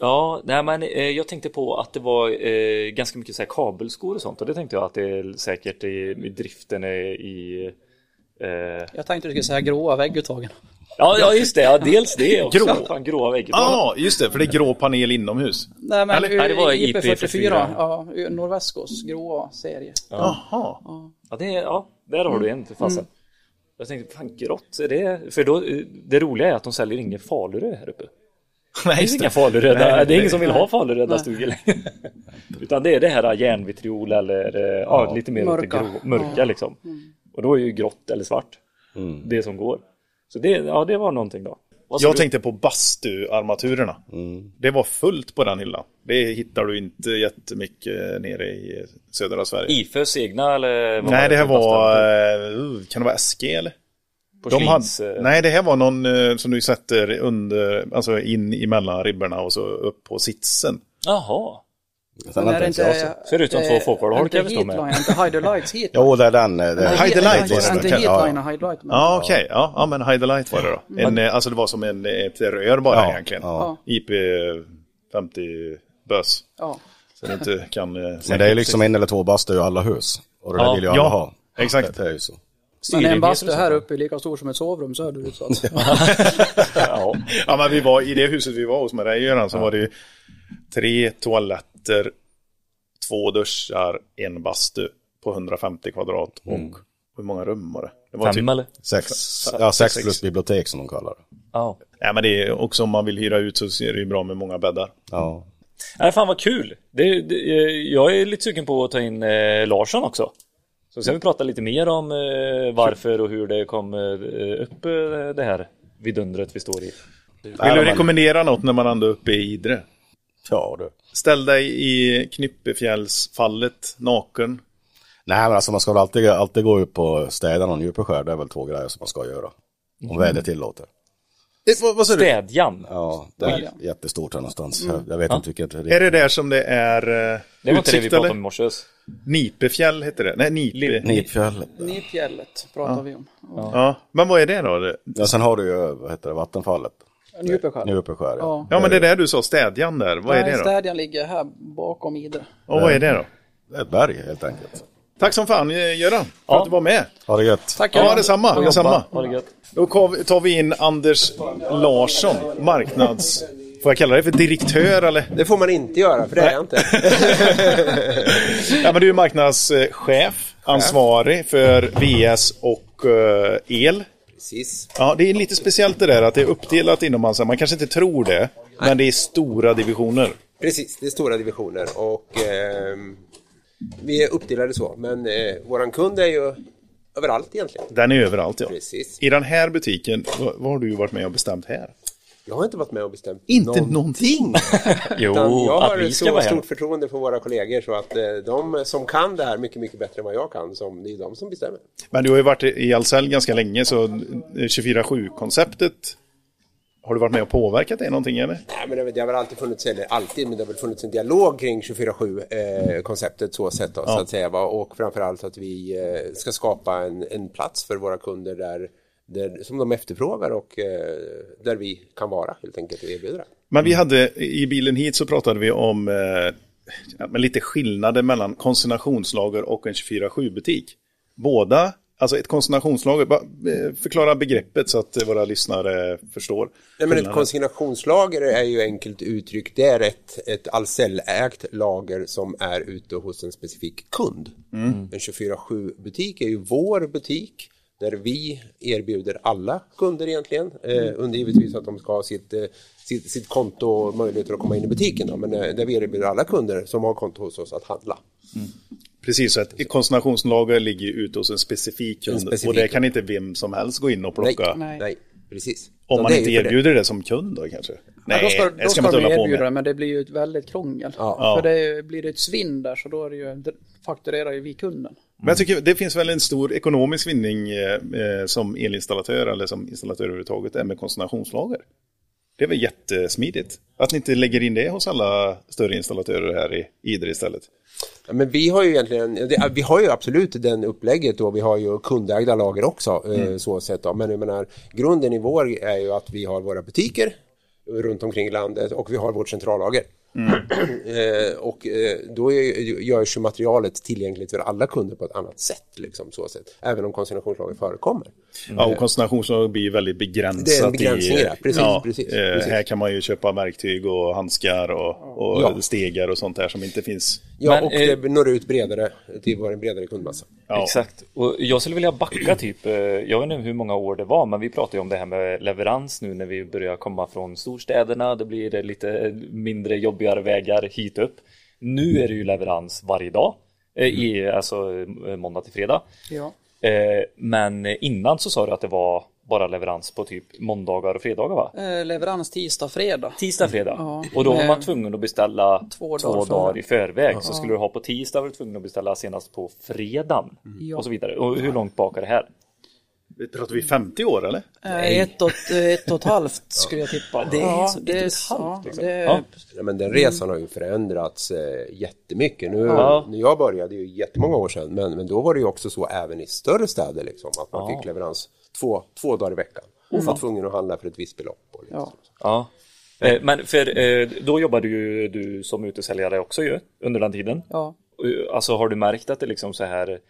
Speaker 4: Ja, nej, men eh, jag tänkte på att det var eh, ganska mycket så här kabelskor och sånt och det tänkte jag att det är säkert i, i driften eh, i... Eh,
Speaker 8: Jag tänkte du skulle säga gråa vägguttagen.
Speaker 4: ja, ja, just det. Ja, dels
Speaker 8: <laughs>
Speaker 4: det också.
Speaker 1: Grå.
Speaker 4: Fan, gråa väggar.
Speaker 1: Ja, ah, just det, för det är grå panel inomhus.
Speaker 8: Nej, men
Speaker 1: Eller-
Speaker 8: ur-
Speaker 4: Nej, det var
Speaker 8: IP44,
Speaker 4: IP44.
Speaker 8: ja, ur Norvescos gråa serie.
Speaker 1: Jaha.
Speaker 4: Ja, det, är- ja där har du
Speaker 8: Mm.
Speaker 4: en för fasen. Jag tänkte, fan grått, är det... För då, eh, det roliga är att de säljer ingen Falurö här uppe.
Speaker 1: <laughs> Nej,
Speaker 4: Det
Speaker 1: just
Speaker 4: finns inga faluröda,
Speaker 1: Nej,
Speaker 4: det är ingen
Speaker 1: det-
Speaker 4: som vill ha faluröda stugor längre. <laughs> Utan det är det här järnvitriol eller eh, ja, lite mer mörka,
Speaker 8: Mörka.
Speaker 4: grå, mörka liksom.
Speaker 1: Mm.
Speaker 4: Och då är ju grått eller svart det som går. Så det, ja, det var någonting då. Vad sa
Speaker 1: Jag
Speaker 4: du?
Speaker 1: tänkte på bastuarmaturerna. Mm. Det var fullt på den hyllan. Det hittar du inte jättemycket nere i södra Sverige.
Speaker 4: IFÖs egna eller? vad
Speaker 1: Nej, det här
Speaker 4: för
Speaker 1: var...
Speaker 4: bastard?
Speaker 1: eh, Kan det vara SG eller? De hade,
Speaker 4: Porslins, eh,
Speaker 1: nej, det här var någon eh, som du sätter under, alltså in emellan ribborna och så upp på sitsen.
Speaker 4: Jaha,
Speaker 9: Den har inte ens jag sett.
Speaker 4: Ser ut som två fårfårlar, kan jag förstå med.
Speaker 8: med. eh, Inte Hydelights hit.
Speaker 9: Jo, det är den. eh, Det är...
Speaker 1: Hide the Light var det
Speaker 8: Inte
Speaker 1: den kallade,
Speaker 8: Heatline,
Speaker 9: ja.
Speaker 8: Hydelight. men- Mm.
Speaker 1: Ja, okej. Ja, ja, men Hide the Light var det då. En, eh, alltså det var som en, eh, ett rör bara
Speaker 9: Ja,
Speaker 1: egentligen.
Speaker 9: ja.
Speaker 1: IP50 bös.
Speaker 8: Ja.
Speaker 1: Så det inte kan... eh,
Speaker 9: Men det är liksom en eller två bastu i alla hus. Och det där
Speaker 4: Ja,
Speaker 9: vill ju alla
Speaker 1: ja,
Speaker 9: ha.
Speaker 1: exakt.
Speaker 9: Det är ju så.
Speaker 8: Men en
Speaker 4: Styringredienser
Speaker 8: bastu
Speaker 4: och
Speaker 8: här uppe är lika stor som ett sovrum söderut. Så att, <laughs>
Speaker 4: ja.
Speaker 1: Ja, men vi var i det huset vi var hos med dig Göran så var det ju tre toaletter, två duschar, en bastu på 150 kvadrat och hur många rum var det? det var
Speaker 4: Mm.
Speaker 1: typ
Speaker 4: Fem eller?
Speaker 9: Sex, ja, sex
Speaker 1: sex.
Speaker 9: plus bibliotek som de kallar det.
Speaker 4: Ja.
Speaker 1: Nej, men det är också om man vill hyra ut så är det ju bra med många bäddar.
Speaker 9: Ja.
Speaker 4: Nej, fan vad kul! Det, det, eh, jag är lite sugen på att ta in eh, Larsson också. Så sen vi prata lite mer om eh, varför och hur det kom eh, upp eh, det här vidundret vi står i.
Speaker 1: Vill du rekommendera något när man ändå är uppe i Idre?
Speaker 9: Ja, du.
Speaker 1: Ställ dig i Knyppefjällsfallet naken.
Speaker 9: Nej, men alltså man ska väl alltid, alltid gå upp och städa någon djupeskär. Det är väl två grejer som man ska göra. Om
Speaker 1: Mm.
Speaker 9: vädret tillåter. Eh,
Speaker 1: vad, sa du?
Speaker 4: Städjan!
Speaker 9: Ja, det är jättestort här någonstans. Jag, jag vet inte vilket.
Speaker 1: Mm. Är det där som det är eh,
Speaker 4: Mm. Det var inte det vi
Speaker 1: utsikt
Speaker 4: pratade om i
Speaker 1: eller?
Speaker 4: morse.
Speaker 1: Nipefjäll heter det. Nej, Nipe.
Speaker 9: Nidfjäll.
Speaker 8: Nipfjället pratar vi om. Ja.
Speaker 1: Ja, men vad är det då?
Speaker 9: Ja, sen har du ju, vad heter det, vattenfallet.
Speaker 8: Njupeskär.
Speaker 9: Djupeskär, ja.
Speaker 8: Ja.
Speaker 1: Ja, men det där du sa, städjan där. Vad är
Speaker 8: Nej,
Speaker 1: det då?
Speaker 8: Städjan ligger här bakom Idre.
Speaker 1: Och vad är det då?
Speaker 9: Det är ett berg helt enkelt.
Speaker 1: Tack som fan eh, Göran för att du var med.
Speaker 9: Ha det gött.
Speaker 8: Tack
Speaker 1: Ja,
Speaker 8: Göran.
Speaker 1: detsamma. detsamma.
Speaker 4: Ha det gött.
Speaker 1: Då kom- tar vi in Anders Larsson,
Speaker 4: <laughs>
Speaker 1: marknads... Får jag kalla dig för direktör eller?
Speaker 11: Det får man inte göra, för det är jag inte.
Speaker 1: Ja, men du är marknadschef, ansvarig för VS och eh, el.
Speaker 11: Precis.
Speaker 1: Ja, det är lite speciellt det där att det är uppdelat inom Hansa. Man kanske inte tror det, men det är stora divisioner.
Speaker 11: <laughs> Precis, det är stora divisioner och ehm, vi är uppdelade så. Men eh, våran kund är ju överallt egentligen.
Speaker 1: Den är överallt ja.
Speaker 11: Precis.
Speaker 1: I den här butiken, vad, vad har du varit med och bestämt här?
Speaker 11: Jag har inte varit med och bestämt
Speaker 1: Inte
Speaker 11: någon-
Speaker 1: någonting!
Speaker 4: Jo,
Speaker 11: Utan jag
Speaker 4: att
Speaker 11: har
Speaker 4: vi ska
Speaker 11: så
Speaker 4: vara här.
Speaker 11: stort förtroende för våra kollegor så att eh, de som kan det här mycket, mycket bättre än vad jag kan, som, det är de som bestämmer.
Speaker 1: Men du har ju varit i Ahlsell ganska länge så 24-7-konceptet har du varit med och påverkat det någonting eller?
Speaker 11: Nej, men det, har- det har väl alltid funnits, eller alltid, men det har väl funnits en dialog kring 24-7-konceptet så sett då, så att säga. va. Och framförallt att vi eh, ska skapa en, en plats för våra kunder där, där, som de efterfrågar och eh, där vi kan vara helt enkelt och erbjuda.
Speaker 1: Men vi hade, i bilen hit så pratade vi om eh, ja, men lite skillnader mellan konsignationslager och en 24-7-butik. Båda, alltså ett konsignationslager, bara, eh, förklara begreppet så att eh, våra lyssnare förstår.
Speaker 11: Nej, men ett
Speaker 1: skillnaden.
Speaker 11: konsignationslager är ju enkelt uttryckt, det är ett, ett Ahlsell-ägt lager som är ute hos en specifik kund. Mm. En 24-7-butik är ju vår butik där vi erbjuder alla kunder egentligen, eh, under givetvis att de ska ha sitt, eh, sitt, sitt konto och möjligheter att komma in i butiken, då, men eh, där vi erbjuder alla kunder som har konto hos oss att handla.
Speaker 1: Mm. Precis, så ett konsignationslager ligger ju ute hos en specifik kund
Speaker 11: En specifik
Speaker 1: och det
Speaker 11: kund.
Speaker 1: kan inte vem som helst gå in och
Speaker 11: Nej,
Speaker 1: plocka.
Speaker 11: nej. precis.
Speaker 1: Om
Speaker 11: Så
Speaker 1: man
Speaker 11: det är
Speaker 1: inte
Speaker 11: ju för det.
Speaker 1: erbjuder det. som kund då kanske? Nej,
Speaker 8: ja, då ska,
Speaker 1: det
Speaker 8: då
Speaker 1: ska
Speaker 8: ska
Speaker 1: man inte
Speaker 8: de
Speaker 1: hålla på
Speaker 8: erbjuda det,
Speaker 1: med.
Speaker 8: men det blir ju ett väldigt krångel.
Speaker 11: Ja.
Speaker 8: För det är, ju- blir det ett svinn där så då är det ju, fakturerar ju vi kunden.
Speaker 1: Men jag tycker det finns väl en stor ekonomisk vinning eh, eh, som elinstallatör eller som installatör överhuvudtaget är med konsignationslager. Det är väl jättesmidigt. Att ni inte lägger in det hos alla större installatörer här i Idre istället.
Speaker 11: Ja, Men vi har ju egentligen, det, vi har ju absolut den upplägget då, vi har ju kundägda lager också eh, så sett då. Men jag menar, grunden i vår är ju att vi har våra butiker runt omkring i landet och vi har vårt centrallager. <clears throat> eh, och eh, då är, ju- görs ju materialet tillgängligt för alla kunder på ett annat sätt, liksom så sett. Även om konsignationslager förekommer. Eh,
Speaker 1: Ja, och konsignationslager blir ju väldigt begränsat.
Speaker 11: Mm. Det är en begränsning,
Speaker 1: i,
Speaker 11: ja. Precis,
Speaker 1: ja,
Speaker 11: precis,
Speaker 1: eh,
Speaker 11: precis.
Speaker 1: Här kan man ju köpa verktyg och handskar och, och
Speaker 11: Ja.
Speaker 1: stegar och sånt där som inte finns.
Speaker 11: Ja,
Speaker 4: Men,
Speaker 11: och
Speaker 4: eh,
Speaker 11: det når ut bredare till vår bredare kundmassa.
Speaker 1: Ja.
Speaker 4: Exakt. Och jag skulle vilja backa typ, eh, jag vet inte hur många år det var, men vi pratade ju om det här med leverans nu när vi börjar komma från storstäderna. Det blir eh, lite mindre jobbigare vägar hit upp. Nu är det ju leverans varje dag, eh, i, alltså eh, måndag till fredag.
Speaker 8: Ja.
Speaker 4: Eh, Men innan så sa du att det var bara leverans på typ måndagar och fredagar va?
Speaker 8: Eh, leverans tisdag, fredag.
Speaker 4: Tisdag, fredag.
Speaker 8: Mm. Ja.
Speaker 4: Och då var
Speaker 8: Eh,
Speaker 4: man tvungen att beställa två
Speaker 8: två
Speaker 4: dagar,
Speaker 8: dagar före.
Speaker 4: i förväg. Så skulle du ha på tisdag var du tvungen att beställa senast på fredagen.
Speaker 8: Mm.
Speaker 4: Och så vidare. Och hur långt bak är det här?
Speaker 1: Pratar vi 50 år eller?
Speaker 8: Eh, ett, och, eh, ett och ett
Speaker 4: <laughs>
Speaker 8: halvt skulle jag tippa.
Speaker 4: Det är
Speaker 8: ja,
Speaker 4: så- ett och ett
Speaker 8: ja,
Speaker 4: halvt, liksom.
Speaker 8: det är-
Speaker 4: Ja.
Speaker 11: Eh, Ja, men den resan har ju förändrats eh, jättemycket. Nu,
Speaker 4: Ja.
Speaker 11: När jag började, det är ju jättemånga år sedan, men, men då var det ju också så även i större städer liksom, att man fick leverans två, två dagar i veckan. Och var tvungen att handla för ett visst belopp. Och lite
Speaker 8: Ja.
Speaker 11: så.
Speaker 4: Mm. Ja. Eh, Men för eh, då jobbade ju du som utesäljare också ju under den tiden.
Speaker 8: Ja.
Speaker 4: Eh, Alltså har du märkt att det liksom så här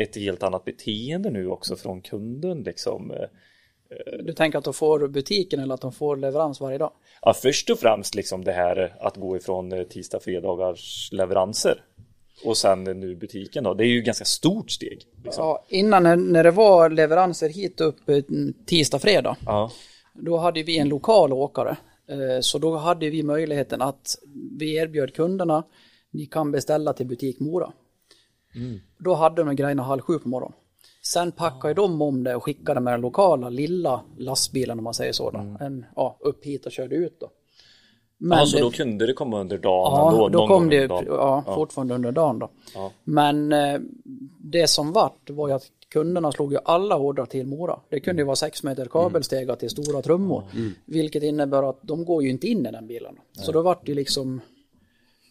Speaker 4: ett helt annat beteende nu också från kunden liksom? Eh,
Speaker 8: Du tänker att de får butiken eller att de får leverans varje dag?
Speaker 4: Ja, först och främst liksom det här att gå ifrån eh, tisdag fredagars leveranser och sen eh, nu butiken då. Det är ju ett ganska stort steg. Liksom.
Speaker 8: Ja, innan när- när det var leveranser hit upp eh, tisdag, fredag,
Speaker 4: Ja.
Speaker 8: då hade vi en lokal åkare. Eh, Så då hade vi möjligheten att vi erbjöd kunderna, ni kan beställa till butik Mora.
Speaker 1: Mm.
Speaker 8: Då hade de grejerna halv sju på morgonen. Sen packade de om det och skickade med den lokala lilla lastbilen om man säger så. Då.
Speaker 4: Mm.
Speaker 8: En, ja, upp hit och körde ut då. Men
Speaker 4: ja, så
Speaker 8: det-
Speaker 4: Alltså, då kunde det komma under dagen
Speaker 8: Ja,
Speaker 4: ändå,
Speaker 8: då
Speaker 4: någon
Speaker 8: kom
Speaker 4: gång
Speaker 8: det ju,
Speaker 4: under dagen.
Speaker 8: ja, fortfarande under dagen då. Men eh, det som vart var ju att kunderna slog ju alla ordrar till Mora. Det
Speaker 4: Mm.
Speaker 8: kunde ju vara sex meter kabelstegar till stora trummor. Vilket innebär att de går ju inte in i den bilen. Då. Så då vart det ju liksom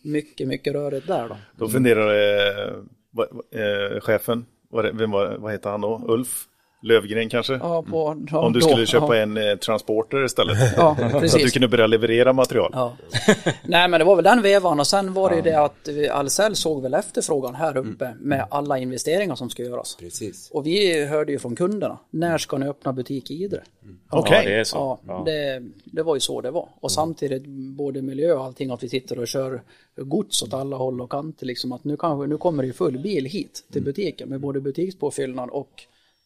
Speaker 8: mycket, mycket rörigt där då.
Speaker 1: Då funderade eh, vad- eh, chefen, vad, det- vem var, vad heter han då? Ulf Lövgren kanske? Mm.
Speaker 8: Ja, på, ja,
Speaker 1: Om du
Speaker 8: då,
Speaker 1: skulle köpa
Speaker 8: ja.
Speaker 1: en eh, transporter istället.
Speaker 8: <laughs> Ja,
Speaker 1: <laughs> Så att du
Speaker 8: precis.
Speaker 1: kunde börja leverera material.
Speaker 8: Ja. <laughs> Nej men det var väl den vevan och sen var det ju det att eh, Ahlsell såg väl efterfrågan här uppe med alla investeringar som ska göras.
Speaker 11: Mm. Precis.
Speaker 8: Och vi hörde ju från kunderna, när ska ni öppna butik i Idre?
Speaker 11: Mm.
Speaker 1: Okej,
Speaker 4: Ja, det är så.
Speaker 8: Ja, Det, det var ju så det var. Och samtidigt både miljö och allting att vi sitter och kör gods åt alla håll och kanter. Liksom att nu, kanske, nu kommer det ju full bil hit
Speaker 11: Mm.
Speaker 8: till butiken med både butikspåfyllnad och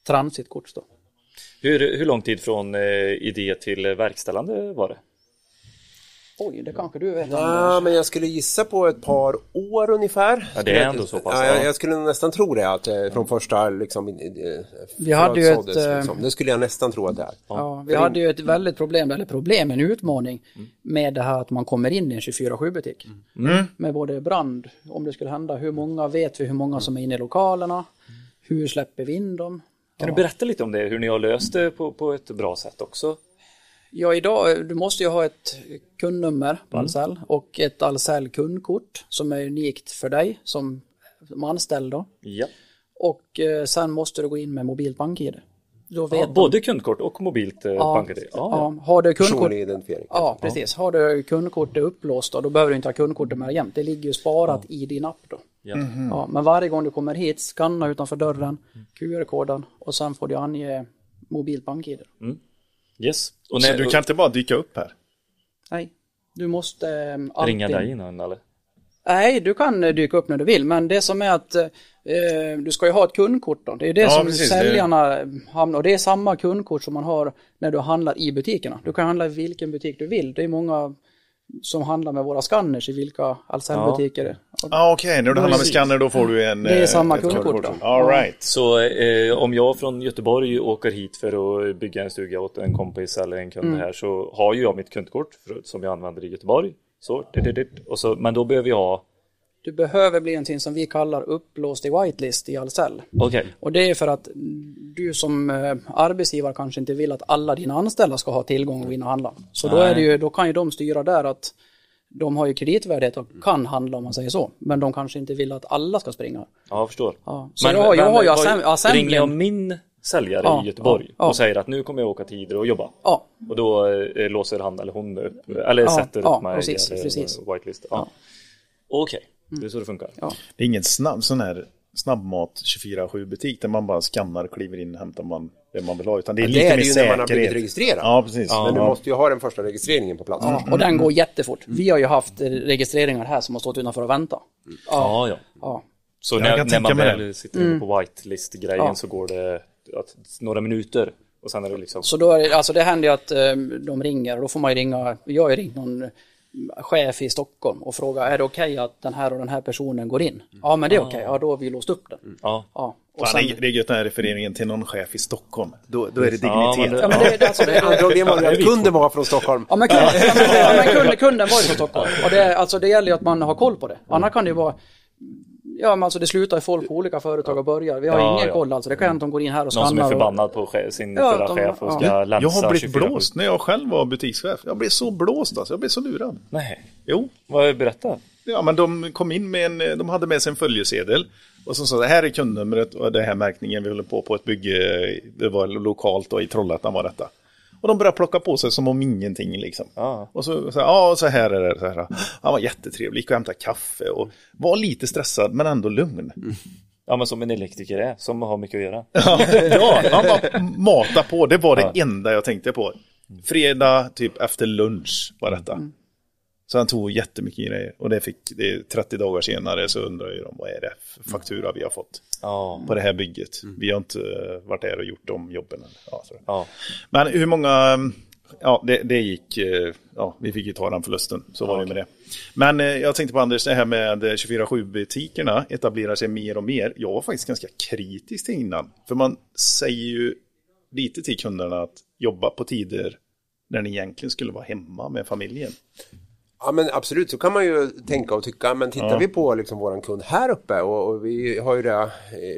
Speaker 8: transitgods då.
Speaker 10: eh,
Speaker 4: Hur, hur lång tid från eh, idé till verkställande var det?
Speaker 8: Oj, det kanske du vet om.
Speaker 11: Ja, men jag skulle gissa på ett par år ungefär.
Speaker 10: Ja, det är ändå så pass,
Speaker 11: Ja,
Speaker 10: ja.
Speaker 11: jag, jag skulle nästan tro det, att eh, från första liksom... eh, fröet
Speaker 8: hade ju ett,
Speaker 11: såddes,
Speaker 8: eh,
Speaker 11: liksom. Det skulle jag nästan tro att det är.
Speaker 8: Ja, vi hade ju
Speaker 10: Mm.
Speaker 8: ett väldigt problem, eller problem, en utmaning med det här att man kommer in i en 24-7 butik.
Speaker 10: Mm.
Speaker 1: Mm.
Speaker 8: Med både brand, om det skulle hända, hur många vet vi hur många
Speaker 10: Mm.
Speaker 8: som är inne i lokalerna? Hur släpper vi in dem?
Speaker 10: Kan du berätta lite om det, hur ni har löst det på, på ett bra sätt också?
Speaker 8: Ja, idag, du måste ju ha ett kundnummer
Speaker 10: Mm.
Speaker 8: på Ahlsell och ett Ahlsell kundkort som är unikt för dig som, som anställd då.
Speaker 10: Ja.
Speaker 8: Och eh, sen måste du gå in med mobilt bank-id. Då vet
Speaker 10: Ja,
Speaker 8: de-
Speaker 10: både kundkort och mobilt eh,
Speaker 8: Ja,
Speaker 10: bank-ID. Ja,
Speaker 8: ja. Har du kundkort
Speaker 11: Personlig identifiering.
Speaker 8: Ja, precis. Har du kundkortet upplåst då, då behöver du inte ha kundkortet med dig jämt. Det ligger ju sparat i din app då.
Speaker 10: ja.
Speaker 8: Ja, men varje gång du kommer hit, skanna utanför dörren,
Speaker 10: Mm.
Speaker 8: QR-koden och sen får du ange mobilt bank-id.
Speaker 11: Mm.
Speaker 10: Yes. Och
Speaker 1: Så
Speaker 10: när,
Speaker 1: du kan inte bara dyka upp här?
Speaker 8: Nej, du måste eh,
Speaker 10: och
Speaker 8: alltid...
Speaker 10: ringa dig innan eller?
Speaker 8: Nej, du kan eh, dyka upp när du vill, men det som är att eh, du ska ju ha ett kundkort då. Det är ju det
Speaker 1: Ja,
Speaker 8: som
Speaker 1: precis, det är-
Speaker 8: säljarna eh, hamnar och det är samma kundkort som man har när du handlar i butikerna. Du kan handla i vilken butik du vill. Det är många som handlar med våra scanners i vilka Ahlsell-butiker det är.
Speaker 1: Ja, Ah, okej. När du handlar med scanner då får du en...
Speaker 8: Det är
Speaker 1: eh,
Speaker 8: samma
Speaker 1: ett
Speaker 8: kundkort då.
Speaker 1: All right.
Speaker 10: Så eh, om jag från Göteborg åker hit för att bygga en stuga åt en kompis eller en kund
Speaker 8: Mm.
Speaker 10: här så har ju jag mitt kundkort för, som jag använder i Göteborg. Så, dit, dit, dit. Och så, men då behöver jag ha...
Speaker 8: Du behöver bli någonting som vi kallar uppblåst i whitelist i Ahlsell.
Speaker 10: Okej,
Speaker 8: Och det är för att du som eh, arbetsgivare kanske inte vill att alla dina anställda ska ha tillgång och in och handla. Så då, är det ju, då kan ju de styra där att de har ju kreditvärdighet och kan handla om man säger så. Men de kanske inte vill att alla ska springa.
Speaker 10: ja, jag förstår.
Speaker 8: Ja. Så jag har- jag har ju
Speaker 10: vad-
Speaker 8: assemb- assembling.
Speaker 10: Ringer jag min säljare
Speaker 8: Ja,
Speaker 10: i Göteborg
Speaker 8: ja, ja.
Speaker 10: och säger att nu kommer jag åka till Idre och jobba.
Speaker 8: Ja,
Speaker 10: Och då eh, låser han eller hon upp, eller
Speaker 8: Ja,
Speaker 10: sätter upp
Speaker 8: ja,
Speaker 10: mig
Speaker 8: precis,
Speaker 10: i en, eh,
Speaker 8: precis.
Speaker 10: whitelist. Ja. Okej, det är så det funkar.
Speaker 8: Ja.
Speaker 1: Det är ingen snabb, sån här snabbmat 24-7 butik där man bara skannar, kliver in, hämtar man det man vill ha. Utan det är
Speaker 11: det
Speaker 1: lite
Speaker 11: är
Speaker 1: mer
Speaker 11: det ju när
Speaker 1: säkerhet.
Speaker 11: man har blivit registrerad.
Speaker 1: Ja, precis. Ja.
Speaker 11: Men du måste ju ha den första registreringen på plats.
Speaker 8: och den går jättefort. Vi har ju haft eh, registreringar här som har stått utanför och väntat.
Speaker 10: Ja, ja.
Speaker 8: Ja. Mm.
Speaker 10: Så
Speaker 1: Jag
Speaker 10: när,
Speaker 1: kan
Speaker 10: när man
Speaker 1: tänka mig
Speaker 10: väl sitter inne på whitelist-grejen
Speaker 8: Ja.
Speaker 10: så går det att, några minuter och sen är det liksom...
Speaker 8: Så då är det, alltså det händer ju att eh, de ringer och då får man ju ringa, jag har ju ringt någon eh, chef i Stockholm och fråga är det okej att den här och den här personen går in? Ja men det är okej, ja då har vi låst upp den.
Speaker 10: Ja.
Speaker 8: Ja, och
Speaker 1: Fan,
Speaker 8: sen,
Speaker 1: det är- det är gött den här refereringen till någon chef i Stockholm. Då, då är det
Speaker 10: Ja, men
Speaker 1: dignitet.
Speaker 8: ja, men det, det, alltså, det,
Speaker 11: Antagligen var det att kunden var från Stockholm.
Speaker 8: Ja men, kunden, ja, men, ja, men kunden, kunden var ju från Stockholm. Och det, alltså, det gäller ju att man har koll på det. Annars kan det ju vara... Ja men alltså det slutar ju folk på olika företag och börjar. Vi har
Speaker 10: Ja,
Speaker 8: ingen
Speaker 10: ja.
Speaker 8: koll alltså. Det kan hända att de går in här och
Speaker 10: Någon som är
Speaker 8: skannar och-
Speaker 10: förbannad på che- sin
Speaker 8: Ja,
Speaker 10: förra
Speaker 8: de-
Speaker 10: chef och
Speaker 8: ja.
Speaker 10: ska länsa
Speaker 1: Jag har blivit
Speaker 10: 24.
Speaker 1: blåst när jag själv var butikschef. Jag blev så blåst alltså. Jag blev så lurad.
Speaker 10: Nej,
Speaker 1: Jo,
Speaker 10: vad berätta.
Speaker 1: Ja, men de kom in med en, de hade med sig en följesedel. Och så sa det här är kundnumret och det här märkningen vi håller på på ett bygge. Det var lokalt och i Trollhättan var detta. Och de började plocka på sig som om ingenting liksom.
Speaker 10: Ja.
Speaker 1: Och så, så, ja, och så här är det. Så här. Han var jättetrevlig, gick och hämtade kaffe och var lite stressad men ändå lugn.
Speaker 10: Ja men som en elektriker är, som har mycket att göra.
Speaker 1: <laughs> Ja, han bara matade på. Det var det enda jag tänkte på. Fredag, typ efter lunch var detta.
Speaker 10: Mm.
Speaker 1: Så han tog jättemycket grejer. Och det fick, det, 30 dagar senare så undrar ju de vad är det för faktura vi har fått
Speaker 10: Ja, Mm.
Speaker 1: på det här bygget. Vi har inte eh, varit där och gjort de jobben. än. Ja, så.
Speaker 10: ja.
Speaker 1: Men hur många, mm, ja det, det gick, eh, ja vi fick ju ta den förlusten, så var det med det. Men eh, jag tänkte på Anders, det här med eh, 24-7 butikerna etablerar sig mer och mer. Jag var faktiskt ganska kritisk till innan, för man säger ju lite till kunderna att jobba på tider när ni egentligen skulle vara hemma med familjen.
Speaker 11: Ja men absolut, så kan man ju tänka och tycka. Men tittar vi på liksom våran kund här uppe och, och vi har ju det, eh,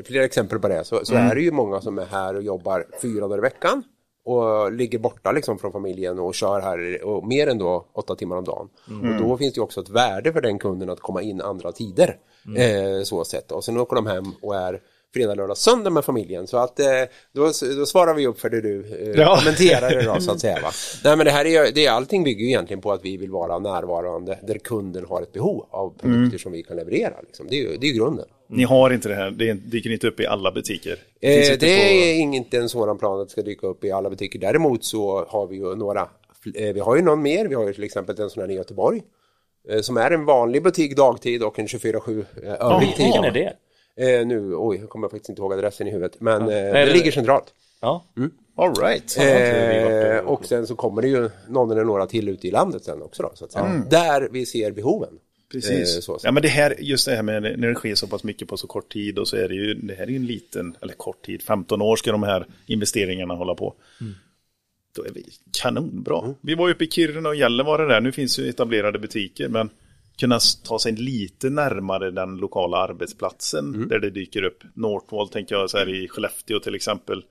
Speaker 11: flera exempel på det. Så, så är det ju många som är här och jobbar fyra dagar i veckan och ligger borta liksom från familjen och kör här och mer än då åtta timmar om dagen. Och då finns det ju också ett värde för den kunden att komma in andra tider. Eh, så sett. Och sen åker de hem och är fredag, lördag, söndag med familjen. Så att eh, då, då svarar vi upp för det du eh,
Speaker 1: Ja.
Speaker 11: kommenterade då så att
Speaker 7: <laughs>
Speaker 11: säga. Va? Nej men det här är, ju- det är, allting bygger ju egentligen på att vi vill vara närvarande där kunden har ett behov av produkter som vi kan leverera. Liksom. Det är ju det är ju grunden.
Speaker 1: Mm. Ni har inte det här, det dyker inte upp i alla butiker. finns
Speaker 11: Eh,
Speaker 1: inte
Speaker 11: det
Speaker 1: på-
Speaker 11: är inte en sådan plan att det ska dyka upp i alla butiker. Däremot så har vi ju några, eh, vi har ju någon mer, vi har ju till exempel en sån här i Göteborg. eh, Som är en vanlig butik dagtid och en 24-7 eh, övrig tid.
Speaker 10: Vilken är det?
Speaker 11: Eh, nu, oj, jag kommer faktiskt inte ihåg adressen i huvudet. Men eh,
Speaker 10: Nej,
Speaker 11: det
Speaker 10: det-
Speaker 11: ligger centralt. Mm.
Speaker 10: Ja.
Speaker 1: All right.
Speaker 11: Eh, och sen så kommer det ju någon eller några till ute i landet sen också då, så att säga. Där vi ser behoven.
Speaker 1: Mm. Precis.
Speaker 11: Eh, så, så.
Speaker 1: Ja, men det här, just det här med när det sker så pass mycket på så kort tid och så är det ju, det här är ju en liten, eller kort tid, 15 år ska de här investeringarna hålla på. Då är vi kanonbra.
Speaker 11: Mm.
Speaker 1: Vi var ju uppe i Kiruna och Gällivare där, nu finns ju etablerade butiker, men kunna s- ta sig lite närmare den lokala arbetsplatsen
Speaker 11: Mm.
Speaker 1: där det dyker upp. Northvolt tänker jag så här i Skellefteå till exempel.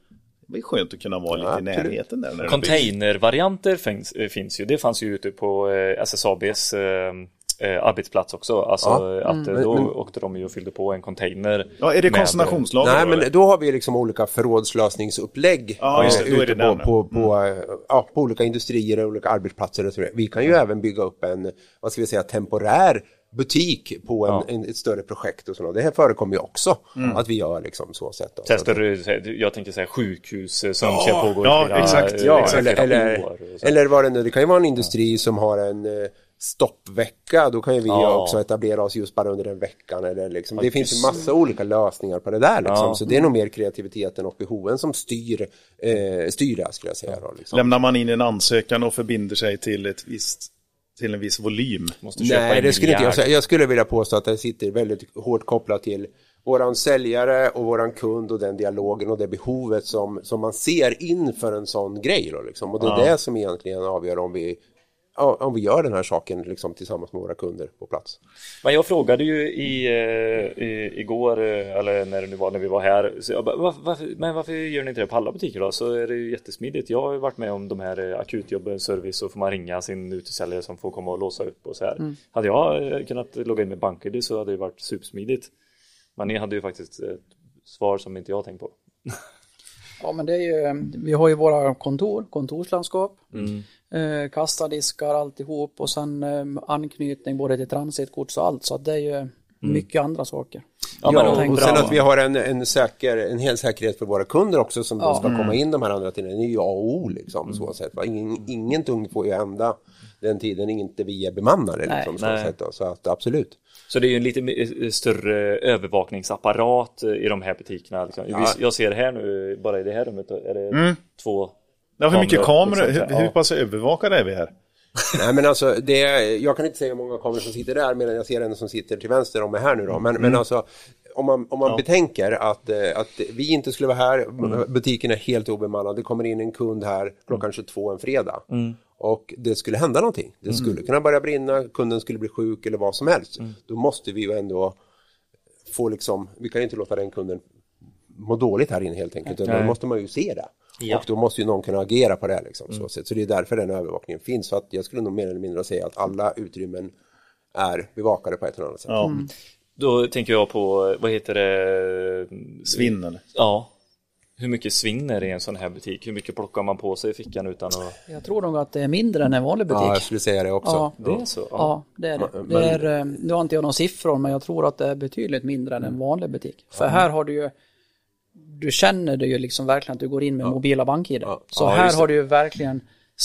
Speaker 1: Det är skönt att kunna vara lite i närheten där. När det byggs.
Speaker 4: Containervarianter finns, eh, finns ju. Det fanns ju ute på eh, SSABs eh, eh, arbetsplats också. Alltså
Speaker 11: Ja. Mm.
Speaker 4: eh, att eh, då
Speaker 11: Men- men-
Speaker 4: åkte de ju och fyllde på en container.
Speaker 1: ja, är det
Speaker 4: med-
Speaker 1: konsignationslager?
Speaker 11: Nej,
Speaker 1: då, eller?
Speaker 11: men då har vi liksom olika förrådslösningsupplägg
Speaker 1: Ja, just det.
Speaker 11: eh,
Speaker 1: Då är
Speaker 11: ute
Speaker 1: det Mm. den,
Speaker 11: på, på, på, eh, ja, på olika industrier och olika arbetsplatser. Och så vidare. vi kan ju även bygga upp en, vad ska vi säga, temporär butik på en, en, ett större projekt och sådant. Det här förekommer ju också
Speaker 1: Mm.
Speaker 11: att vi gör liksom så sätt. Då.
Speaker 4: Så här större, så här, jag tänkte säga sjukhus eh, som kan pågå i
Speaker 1: ja,
Speaker 4: flera,
Speaker 1: exakt,
Speaker 4: eh,
Speaker 1: ja,
Speaker 4: flera
Speaker 11: eller, eller,
Speaker 4: år. och så.
Speaker 11: eller vad det nu, det kan ju vara en industri som har en eh, stoppvecka, då kan ju vi
Speaker 4: Ja.
Speaker 11: också etablera oss just bara under den veckan. Eller liksom. Det finns ju massa olika lösningar på det där, liksom.
Speaker 4: Ja.
Speaker 11: så det är nog mer kreativiteten och behoven som styr, eh, styr det här, skulle jag säga. Då, liksom.
Speaker 1: Lämnar man in en ansökan och förbinder sig till, ett visst, till en viss volym?
Speaker 4: Måste köpa
Speaker 11: Nej,
Speaker 4: en
Speaker 11: det skulle inte jag
Speaker 4: miljard.
Speaker 11: säga. Jag skulle vilja påstå att det sitter väldigt hårt kopplat till våran säljare och våran kund och den dialogen och det behovet som, som man ser inför en sån grej. Då, liksom. Och det är det som egentligen avgör om vi, ja, om vi gör den här saken liksom, tillsammans med våra kunder på plats.
Speaker 4: Men jag frågade ju i, eh, i, igår, eh, eller när det nu var, när vi var här, så jag bara, varför, varför, men varför gör ni inte det på alla butiker då? Så är det ju jättesmidigt. Jag har ju varit med om de här eh, akutjobben, service, så får man ringa sin utesäljare som får komma och låsa upp och så här. Hade jag eh, kunnat logga in med BankID så hade det varit supersmidigt. Men ni hade ju faktiskt ett svar som inte jag tänkt på.
Speaker 8: Ja, men det är ju, vi har ju våra kontor, kontorslandskap,
Speaker 1: Mm.
Speaker 8: eh, kassadiskar alltihop och sen eh, anknytning både till transitgods och allt så att det är ju mycket andra saker.
Speaker 11: Ja,
Speaker 8: jag
Speaker 11: och
Speaker 8: tänkte-
Speaker 11: sen att vi har en, en, säker, en hel säkerhet för våra kunder också som då
Speaker 8: Ja.
Speaker 11: ska komma in de här andra tiden. Det är ju A och O liksom. Så sätt, va? Ingen, ingen tung får ju hända den tiden inte vi är bemannade.
Speaker 8: Nej.
Speaker 11: Liksom, så,
Speaker 4: Nej.
Speaker 11: Sätt, då. så att absolut.
Speaker 4: Så det är ju en lite eh, större övervakningsapparat eh, i de här butikerna. Liksom. Visst, Jag ser här nu, bara i det här rummet, är det två
Speaker 1: Mm. Ja, hur mycket
Speaker 4: Kameror,
Speaker 1: kameror,
Speaker 4: exakt,
Speaker 1: hur,
Speaker 4: ja.
Speaker 1: hur pass övervakade är vi här?
Speaker 11: Nej men alltså, det, jag kan inte säga hur många kameror som sitter där medan jag ser en som sitter till vänster om mig här nu då. Men,
Speaker 1: Mm.
Speaker 11: men alltså, om man, om man betänker att, eh, att vi inte skulle vara här,
Speaker 1: Mm.
Speaker 11: butiken är helt obemannad, det kommer in en kund här klockan 22 en fredag. Och det skulle hända någonting. Det skulle kunna börja brinna, kunden skulle bli sjuk eller vad som helst. Då måste vi ju ändå få liksom, vi kan ju inte låta den kunden må dåligt här inne helt enkelt. utan Då måste man ju se det. Och då måste ju någon kunna agera på det. här, Liksom, så, sätt. så det är därför den övervakningen finns. Så att jag skulle nog mer eller mindre säga att alla utrymmen är bevakade på ett eller annat sätt.
Speaker 1: Ja,
Speaker 4: Då tänker jag på, vad heter det?
Speaker 1: svinn eller?
Speaker 4: Ja. Hur mycket svinn är det i en sån här butik? Hur mycket plockar man på sig i fickan utan att...
Speaker 8: Jag tror nog att det är mindre än en vanlig butik.
Speaker 11: Ja, jag skulle säga det också.
Speaker 8: Ja.
Speaker 4: Det är så? Ja.
Speaker 8: Ja, det är det. det är, eh, nu har inte jag några siffror, men jag tror att det är betydligt mindre än en vanlig butik. För här har du ju, du känner det ju liksom verkligen att du går in med mobila bank-id. Så
Speaker 11: Ja, just
Speaker 8: här
Speaker 11: det.
Speaker 8: har du ju verkligen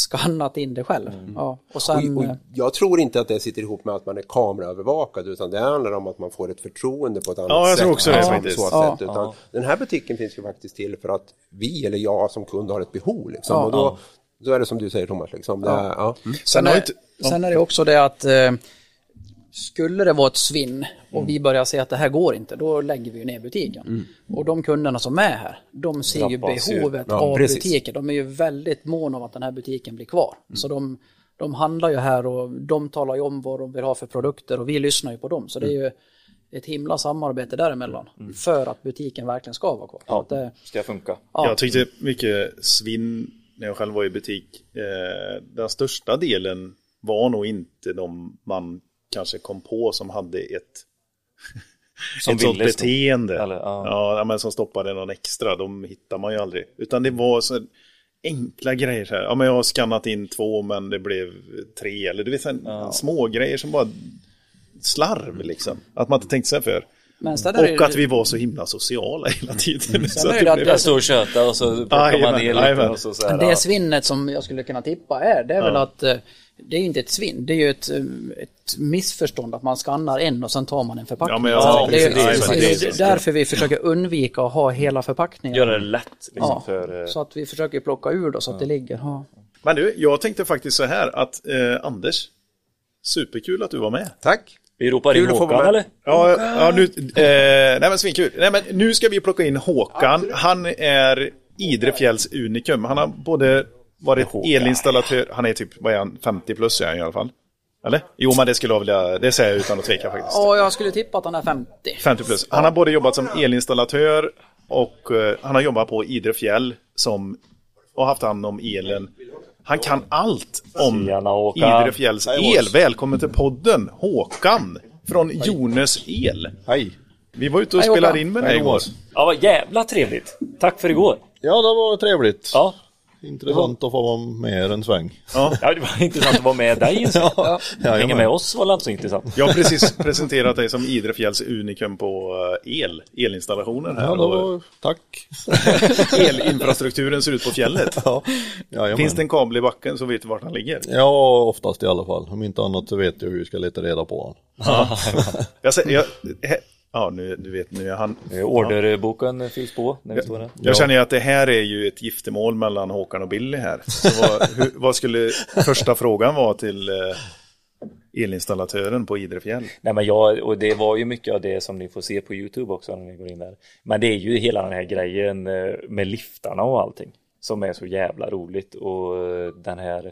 Speaker 8: skannat in det själv. Ja, och sen,
Speaker 11: Och,
Speaker 8: eh,
Speaker 11: och jag tror inte att det sitter ihop med att man är kameraövervakad utan det handlar om att man får ett förtroende på ett annat
Speaker 1: Ja, jag
Speaker 11: sätt.
Speaker 1: tror också det
Speaker 11: Liksom,
Speaker 1: faktiskt.
Speaker 11: Så sätt,
Speaker 8: Ja.
Speaker 11: utan Den här butiken finns ju faktiskt till för att vi eller jag som kund har ett behov. Liksom. och då, då är det som du säger Thomas. Liksom. Det, är- ja. Mm.
Speaker 8: sen,
Speaker 1: har
Speaker 8: är,
Speaker 1: inte-
Speaker 8: sen är det också det att eh, skulle det vara ett svinn och vi börjar se att det här går inte, då lägger vi ju ner butiken.
Speaker 1: Mm.
Speaker 8: Och de kunderna som är här, de ser ju
Speaker 4: Drabbas ju.
Speaker 8: behovet
Speaker 11: Ja,
Speaker 8: av
Speaker 11: precis.
Speaker 8: butiken. De är ju väldigt måna om att den här butiken blir kvar. Så de, de handlar ju här och de talar ju om vad de vill ha för produkter och vi lyssnar ju på dem. Så det är ju ett himla samarbete däremellan för att butiken verkligen ska vara kvar. Så att eh, det,
Speaker 4: Ska funka?
Speaker 8: Ja.
Speaker 1: Jag tyckte mycket svinn när jag själv var i butik. Eh, den största delen var nog inte de man kanske kom på som hade ett, ett sånt
Speaker 4: ville stå-
Speaker 1: beteende.
Speaker 4: eller, ja.
Speaker 1: ja. men som stoppade någon extra, de hittar man ju aldrig. Utan
Speaker 4: Mm.
Speaker 1: det var så här enkla grejer. Så här. Ja, men jag har skannat in två men det blev tre. Eller du vet, så här, små grejer som bara slarv liksom. Att man inte tänkte sig för.
Speaker 8: Men sen är det ju- Mm.
Speaker 1: Och att vi var så himla sociala hela tiden. <laughs> Så
Speaker 8: är
Speaker 1: att
Speaker 8: det
Speaker 1: det
Speaker 8: att
Speaker 1: blev
Speaker 4: Jag står och tjötar och så plockar man
Speaker 1: Jajamän,
Speaker 4: ner lite
Speaker 1: jajamän.
Speaker 4: och så, så här,
Speaker 8: Det
Speaker 4: ja.
Speaker 8: svinnet som jag skulle kunna tippa är, det är väl att eh, det är ju inte ett svinn, det är ju ett, eh, ett missförstånd att man skannar en och sen tar man en förpackning.
Speaker 1: Ja, men jag- ja,
Speaker 8: det är, ju-
Speaker 1: precis,
Speaker 8: det är ju
Speaker 1: precis.
Speaker 8: därför vi försöker undvika att ha hela förpackningen.
Speaker 4: Göra det lätt liksom,
Speaker 8: Ja,
Speaker 4: för... eh,
Speaker 8: så att vi försöker plocka ur då så att det ligger. Ja.
Speaker 1: Men du, jag tänkte faktiskt så här att eh, Anders, superkul att du var med.
Speaker 12: Tack.
Speaker 4: Vi ropar in
Speaker 12: Kul att få vara
Speaker 4: Håkan
Speaker 12: med.
Speaker 4: eller?
Speaker 1: Ja, ja nu, eh, nej men svinkul. Nej men nu ska vi plocka in Håkan. Han är Idrefjälls unikum. Han har både varit elinstallatör, han är typ, vad är han, 50 plus är han i alla fall. Eller? Jo men det skulle jag vilja, det säger jag utan att tveka faktiskt.
Speaker 8: Ja, jag skulle tippa att han är 50. <laughs>
Speaker 1: 50 plus. Han har både jobbat som elinstallatör och eh, han har jobbat på Idre fjäll som, och haft hand om elen. Han kan allt om
Speaker 4: Tjena, Håkan.
Speaker 1: Idre fjälls el. Välkommen till podden Håkan från Jones el.
Speaker 13: Hej.
Speaker 1: Vi var ute och
Speaker 8: Hej, Håkan.
Speaker 1: spelade in med dig igår.
Speaker 4: Ja, vad jävla trevligt. Tack för igår.
Speaker 13: Ja, det var trevligt.
Speaker 4: Ja.
Speaker 13: Intressant att få vara med er en sväng.
Speaker 4: ja, det var intressant att vara med dig.
Speaker 13: <laughs>
Speaker 4: en sväng. Hänga
Speaker 13: Jajamän.
Speaker 4: med oss var inte så intressant.
Speaker 1: Jag har precis presenterat dig som Idre fjälls unikum på eh, el, elinstallationer här.
Speaker 13: Ja, det
Speaker 1: och
Speaker 13: var... Tack.
Speaker 1: <laughs> elinfrastrukturen ser ut på fjället.
Speaker 13: Ja, jajamän.
Speaker 1: Finns det en kabel i backen så vet du vart han ligger.
Speaker 13: Ja, oftast i alla fall. Om inte annat så vet jag hur jag ska leta reda på honom. <laughs>
Speaker 1: Jag, sä- jag, he- ja, nu, du vet, nu är han...
Speaker 4: Eh, Orderboken eh, fylls på när vi står här.
Speaker 1: Jag känner ju att det här är ju ett giftermål mellan Håkan och Billy här. Så vad, hur, vad skulle första frågan vara till eh, elinstallatören på Idrefjäll?
Speaker 4: Nej, men jag, och det var ju mycket av det som ni får se på Youtube också när ni går in där. Men det är ju hela den här grejen eh, med liftarna och allting som är så jävla roligt och eh, den här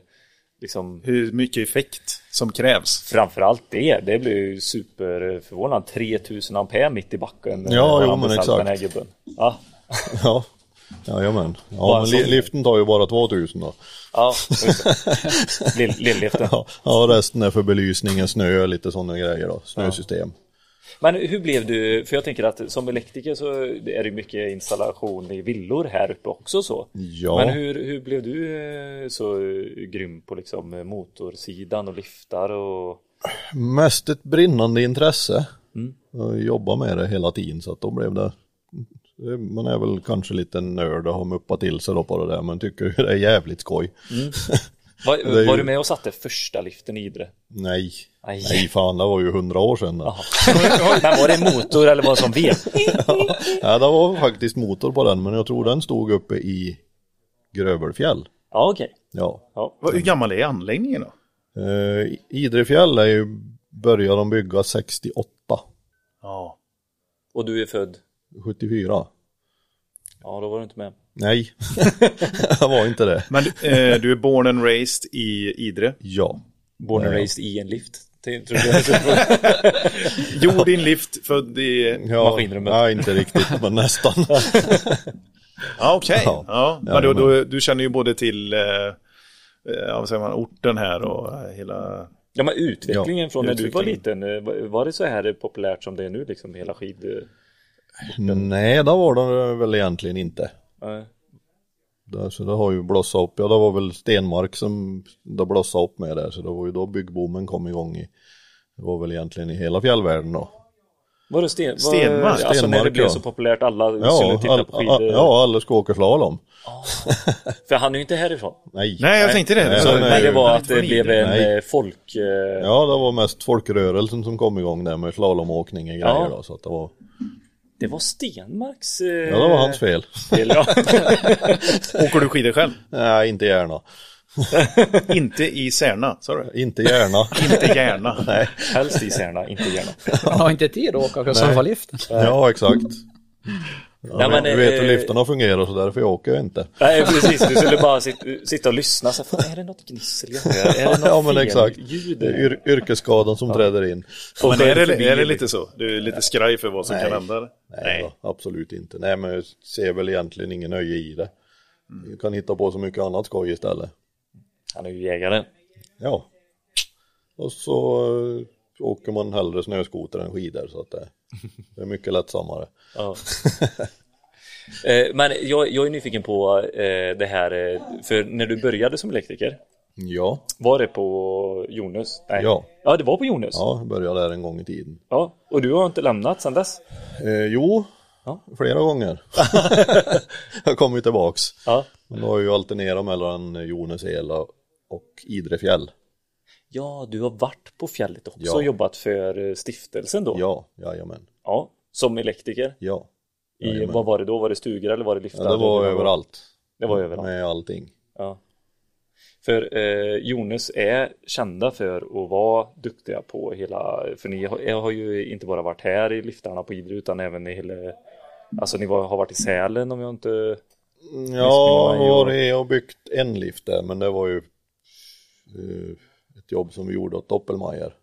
Speaker 4: liksom
Speaker 1: Hur mycket effekt som krävs?
Speaker 4: framförallt det. Det blev ju superförvånad. 3000 ampere mitt i backen. eh,
Speaker 13: Ja,
Speaker 4: har
Speaker 13: jo,
Speaker 4: han
Speaker 13: men
Speaker 4: besatt,
Speaker 13: exakt.
Speaker 4: Den här gubben. Ja,
Speaker 13: Ja, jajamän. Ja, men li- liften tar ju bara 2000 då.
Speaker 4: ja just
Speaker 13: <laughs>
Speaker 4: det. Lill- Lill-liften.
Speaker 13: Ja, ja, resten är för belysningen, snö och lite sådana grejer då. Snösystem.
Speaker 4: Men hur blev du, för jag tänker att som elektriker så är det mycket installation i villor här uppe också så.
Speaker 13: Ja.
Speaker 4: Men hur, hur blev du eh, så eh, grym på liksom eh, motorsidan och liftar och
Speaker 13: Mest ett brinnande intresse.
Speaker 4: Mm.
Speaker 13: Jag jobbar med det hela tiden så att då blev det man är väl kanske lite nörd och har muppat till sig då på det där men tycker ju det är jävligt skoj. <laughs>
Speaker 4: var,
Speaker 13: är ju-
Speaker 4: Mm. var du med och satte första liften i Idre?
Speaker 13: Nej,
Speaker 4: Aj.
Speaker 13: nej fan det var ju hundra år sedan. då.
Speaker 4: <laughs> Men var det en motor eller var det som vev?
Speaker 13: <laughs> Ja, det var faktiskt motor på den men jag tror den stod uppe i Grövelsfjäll.
Speaker 4: Ja okej.
Speaker 13: Ja.
Speaker 1: Vad- Hur gammal är anläggningen då?
Speaker 13: Eh, Idrefjäll är ju, började de bygga 68,
Speaker 1: Ja.
Speaker 4: Och du är född?
Speaker 13: 74.
Speaker 4: Ja då var du inte med.
Speaker 13: Nej, <laughs> det var inte det.
Speaker 1: Men eh, du är born and raised i Idre.
Speaker 13: Ja,
Speaker 4: Born and raised i en lift. Tänk- tror du jag <laughs> skulle-
Speaker 1: Gjord i en lift, född i...
Speaker 13: ja
Speaker 4: Maskinrummet.
Speaker 13: Nej, inte riktigt men nästan.
Speaker 1: <laughs> Ja, okej.
Speaker 13: Ja.
Speaker 1: Ja. Men då, då, du känner ju både till eh, ja, vad säger man, orten här och eh, hela...
Speaker 4: Ja men utvecklingen från när du var
Speaker 1: utvecklingen.
Speaker 4: liten, eh, var- var det så här populärt som det är nu liksom hela skid... eh,
Speaker 13: nej, det var det väl egentligen inte.
Speaker 4: nej.
Speaker 13: Där, så det har ju blossat upp, ja det var väl Stenmark som det blossade upp med där så det var ju då byggboomen kom igång i, det var väl egentligen i hela fjällvärlden då.
Speaker 4: Var det sten, var,
Speaker 1: Stenmark?
Speaker 4: Alltså när det
Speaker 13: Stenmark,
Speaker 4: blev
Speaker 13: ja.
Speaker 4: så populärt alla skulle
Speaker 13: Ja,
Speaker 4: titta
Speaker 13: all,
Speaker 4: på skidor. Ah,
Speaker 13: ja alla ska åka slalom. <laughs>
Speaker 4: För han är ju inte härifrån.
Speaker 13: Nej.
Speaker 1: Nej, jag tänkte det.
Speaker 13: Nej,
Speaker 1: Så-
Speaker 13: nej,
Speaker 4: Men det
Speaker 13: nej.
Speaker 4: var
Speaker 1: nej,
Speaker 4: att det
Speaker 1: från
Speaker 4: blev
Speaker 1: Idre.
Speaker 4: en
Speaker 13: Nej.
Speaker 4: eh, folk... eh,
Speaker 13: Ja, det var mest folkrörelsen som kom igång där med slalomåkning och grejer
Speaker 4: Ja.
Speaker 13: då, så att det var,
Speaker 4: Det var Stenmarks... eh,
Speaker 13: ja det var hans fel.
Speaker 4: fel, ja.
Speaker 1: <laughs> Åker du skidor själv?
Speaker 13: Nej, inte gärna.
Speaker 1: <laughs> Inte i Särna, sa du?
Speaker 13: Inte gärna.
Speaker 1: <laughs> Inte
Speaker 13: <laughs>
Speaker 1: gärna. Nej.
Speaker 4: Helst i Särna, inte gärna.
Speaker 8: Han har inte tid att åka och skaffa liften.
Speaker 13: <laughs> ja, exakt. Ja,
Speaker 4: Nej, men,
Speaker 13: du vet hur
Speaker 4: eh,
Speaker 13: liftarna fungerar så därför åker jag inte.
Speaker 4: Nej precis, du skulle bara sit, sitta och lyssna. Så, fan, är det något gnissel jag hör? Är det något
Speaker 13: <laughs> Ja, men
Speaker 4: fel
Speaker 13: exakt.
Speaker 4: ljud?
Speaker 13: Det är yr- yrkesskadan som träder in.
Speaker 1: Men
Speaker 4: så
Speaker 1: är
Speaker 4: förbi,
Speaker 1: det, är det lite så? Du är lite skraj för vad som kan hända?
Speaker 13: Nej, då, absolut inte. Nej, men jag ser väl egentligen ingen nöje i det.
Speaker 1: Mm.
Speaker 13: Du kan hitta på så mycket annat skoj istället.
Speaker 4: Han är ju jägaren.
Speaker 13: Ja. Och så eh, åker man hellre snöskoter än skidor så att det, det är mycket lättsammare.
Speaker 4: Ja. <laughs> Eh, Men jag, jag är nyfiken på eh, det här, eh, för när du började som elektriker,
Speaker 13: Ja,
Speaker 4: Var det på Jonas? Nej.
Speaker 13: Ja.
Speaker 4: Ja, det var på Jonas. Ja.
Speaker 13: ja, jag började där en gång i tiden.
Speaker 4: ja. och Och du har inte lämnat sedan dess?
Speaker 13: Eh, jo, flera gånger. <laughs> jag kommer ju tillbaks.
Speaker 4: Ja.
Speaker 13: Men då har jag ju alternerat mellan Jones Ela och Idrefjäll.
Speaker 4: Ja, du har varit på fjället också
Speaker 13: Ja.
Speaker 4: och jobbat för eh, stiftelsen då?
Speaker 13: Ja, jajamän.
Speaker 4: Ja, Som elektriker?
Speaker 13: Ja.
Speaker 4: I,
Speaker 13: Jajamän.
Speaker 4: vad var det då? Var det stugor eller var det
Speaker 13: ja
Speaker 4: liftar?
Speaker 13: det var
Speaker 4: Eller
Speaker 13: överallt.
Speaker 4: Det var överallt.
Speaker 13: Med allting.
Speaker 4: Ja. För eh, Jonas är kända för att vara duktiga på hela, för ni har, jag har ju inte bara varit här i liftarna på Idre utan även i hela, alltså ni var, har varit i Sälen om jag inte,
Speaker 13: Ja,
Speaker 4: Visby var ju-
Speaker 13: var det, jag har byggt en lift där, men det var ju eh, ett jobb som vi gjorde åt Doppelmayr.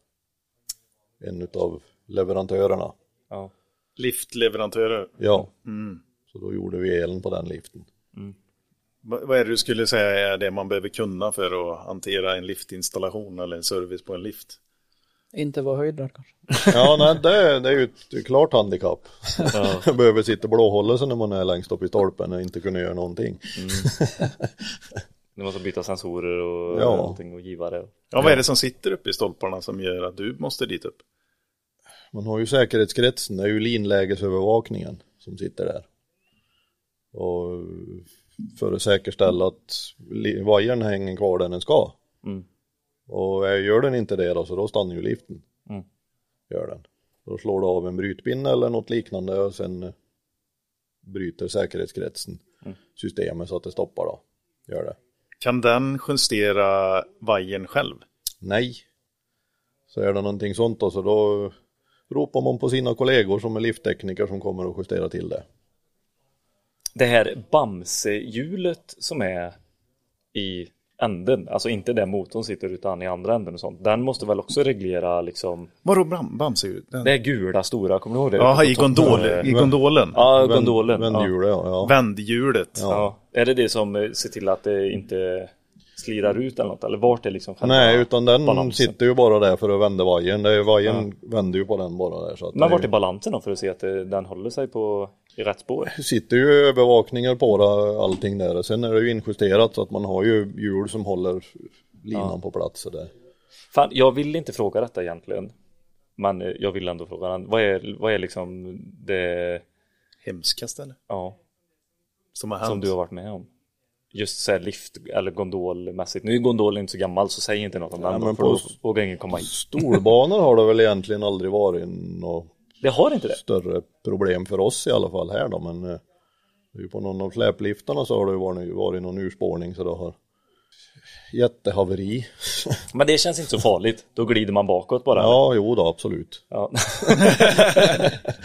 Speaker 13: En utav leverantörerna.
Speaker 4: ja.
Speaker 1: Liftleverantörer.
Speaker 13: Ja,
Speaker 1: Mm.
Speaker 13: så då gjorde vi elen på den liften.
Speaker 1: Va- Vad är det du skulle säga är det man behöver kunna för att hantera en liftinstallation eller en service på en lift?
Speaker 8: Inte vara höjdrädd kanske.
Speaker 13: Ja, nej, det, det är ju ett klart handikapp. <laughs> Man behöver sitta och blåhålla sig när man är längst upp i stolpen och inte kunna göra någonting.
Speaker 4: Ni måste byta sensorer och
Speaker 13: Ja.
Speaker 4: allting och givare.
Speaker 1: Ja, vad är det som sitter uppe i stolparna som gör att du måste dit upp?
Speaker 13: <laughs> Man har ju säkerhetskretsen, det är ju linlägesövervakningen som sitter där. Och för att säkerställa att li- vajern hänger kvar där den ska.
Speaker 4: Mm.
Speaker 13: Och eh, gör den inte det då, så då stannar ju liften.
Speaker 4: Mm.
Speaker 13: Gör den. Då slår du av en brytpinne eller något liknande och sen eh, bryter säkerhetskretsen systemet så att det stoppar då. Gör det.
Speaker 1: Kan den justera vajern själv?
Speaker 13: Nej. Så är det någonting sånt då, så då ropar man på sina kollegor som är lifttekniker som kommer och justerar till det.
Speaker 4: Det här Bamse-hjulet som är i änden, alltså inte där motorn sitter utan i andra änden och sånt, den måste väl också reglera liksom,
Speaker 1: Vadå Bam- Bamse? ut? Den-
Speaker 4: det här gula stora, kommer du ihåg det?
Speaker 1: Jaha,
Speaker 4: Uppe på
Speaker 1: i,
Speaker 4: toppen?
Speaker 1: gondol, i gondolen?
Speaker 4: Ja,
Speaker 13: Vänd-
Speaker 4: gondolen. ja.
Speaker 13: Vändhjulet, ja. ja.
Speaker 1: Vändhjulet?
Speaker 4: Ja. Är det det som eh, ser till att det inte slirar ut eller något? Eller vart är liksom själva-
Speaker 13: Nej, utan den
Speaker 4: balansen.
Speaker 13: sitter ju bara där för att vända vajern. Det är- Vajern vänder ju på den bara där. Så att
Speaker 4: Men
Speaker 13: det
Speaker 4: vart är balansen då för att se att eh, den håller sig på i rätt spår?
Speaker 13: sitter ju övervakningar på det, allting där. Sen är det ju injusterat så att man har ju hjul som håller linan på plats. så Där.
Speaker 4: Fan, jag vill inte fråga detta egentligen. Men eh, jag vill ändå fråga den. Vad är, vad är liksom det
Speaker 1: Hemskast eller?
Speaker 4: ja,
Speaker 1: Som har hänt?
Speaker 4: som du har varit med om? Just så här lift eller gondolmässigt. Nu är gondolen inte så gammal så säg inte något om den.
Speaker 13: men
Speaker 4: då, för
Speaker 13: plus-
Speaker 4: då vågar ingen komma in.
Speaker 13: Stolbanor har det väl egentligen aldrig varit något
Speaker 4: Det har inte det?
Speaker 13: större problem för oss i alla fall här då. Men eh, det är ju på någon av släpliftarna så har det ju varit, varit någon urspårning så det har jättehaveri. <laughs>
Speaker 4: Men det känns inte så farligt. Då glider man bakåt bara.
Speaker 13: Ja, jo då absolut.
Speaker 4: Ja.
Speaker 13: <laughs>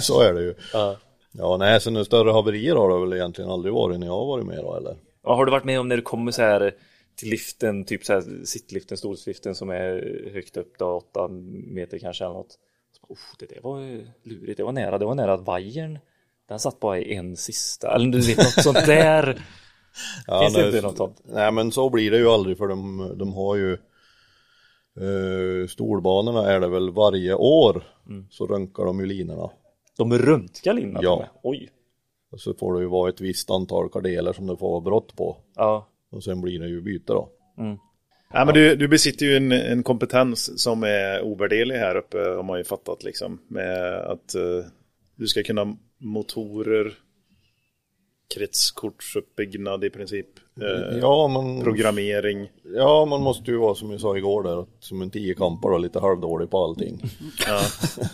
Speaker 13: Så är det ju.
Speaker 4: Ja.
Speaker 13: Ja, nej, så några större haverier har det väl egentligen aldrig varit när jag har varit med då eller?
Speaker 4: Ja, har du varit med om när du kommer så här till liften, typ så här sittliften, stolsliften som är högt upp, då, åtta meter kanske eller något. Så, bara, "Uff, det där var ju lurigt, det var nära, det var nära att vajern, den satt bara i en sista, eller du vet något sånt
Speaker 1: <laughs>
Speaker 4: där.
Speaker 13: Ja,
Speaker 4: Finns det
Speaker 13: nej,
Speaker 4: inte något sånt?
Speaker 13: Nej, men så blir det ju aldrig för de, de har ju eh, Stolbanorna är det väl varje år så röntgar de ju linorna.
Speaker 4: Mm. De röntgar linan
Speaker 13: Ja.
Speaker 4: till och med. Oj.
Speaker 13: Och så får det ju vara ett visst antal kardeler som det får vara brott på.
Speaker 4: Ja.
Speaker 13: Och sen blir det ju byte då.
Speaker 4: Mm.
Speaker 1: Ja, men du, du besitter ju en, en kompetens som är ovärderlig här uppe har man ju fattat liksom. Med att eh, du ska kunna motorer, kretskortsuppbyggnad i princip, eh,
Speaker 13: Ja, man,
Speaker 1: programmering.
Speaker 13: ja, man måste ju vara som jag sa igår där, att som en tiokampare och lite halvdålig
Speaker 4: <laughs>
Speaker 13: på allting.
Speaker 1: Ja.
Speaker 13: <laughs>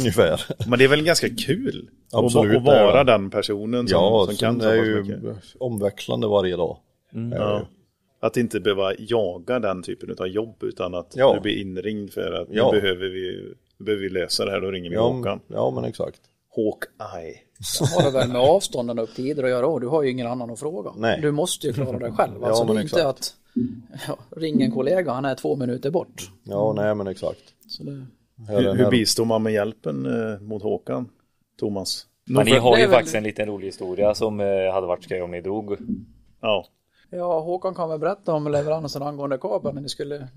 Speaker 13: Ungefär.
Speaker 1: Men det är väl ganska kul att, va-
Speaker 13: Absolut,
Speaker 1: att vara
Speaker 13: det är det.
Speaker 1: den personen som,
Speaker 13: Ja,
Speaker 1: som
Speaker 13: sen
Speaker 1: kan så
Speaker 13: det är
Speaker 1: pass
Speaker 13: ju Mm.
Speaker 1: mycket.
Speaker 13: omväxlande varje dag. Är det ju.
Speaker 1: Ja. Att inte behöva jaga den typen av jobb utan att
Speaker 13: Ja.
Speaker 1: du blir inringd för att
Speaker 13: Ja.
Speaker 1: nu, behöver vi, nu behöver vi lösa det här, då ringer vi
Speaker 13: Ja,
Speaker 1: Håkan.
Speaker 13: men- ja, men exakt.
Speaker 1: <laughs> Hawkeye.
Speaker 8: har det väl med avstånden upp till Idre att göra och du har ju ingen annan att fråga.
Speaker 13: Nej.
Speaker 8: Du måste ju klara dig själv.
Speaker 13: <laughs> Ja,
Speaker 8: Alltså, det
Speaker 13: men
Speaker 8: är inte att ja, ring en kollega, han är två minuter bort.
Speaker 13: Ja, nej men exakt.
Speaker 8: Mm. Så det...
Speaker 13: Här,
Speaker 1: Hur,
Speaker 13: den
Speaker 1: hur
Speaker 13: här,
Speaker 1: bistår man med hjälpen eh, mot Håkan? Thomas?
Speaker 4: Men ni har
Speaker 8: det
Speaker 4: ju
Speaker 8: är väl-
Speaker 4: faktiskt en liten rolig historia som eh, hade varit skoj om ni drog.
Speaker 1: Ja.
Speaker 8: Ja, Håkan kan väl berätta om leveransen angående kabeln när ni skulle...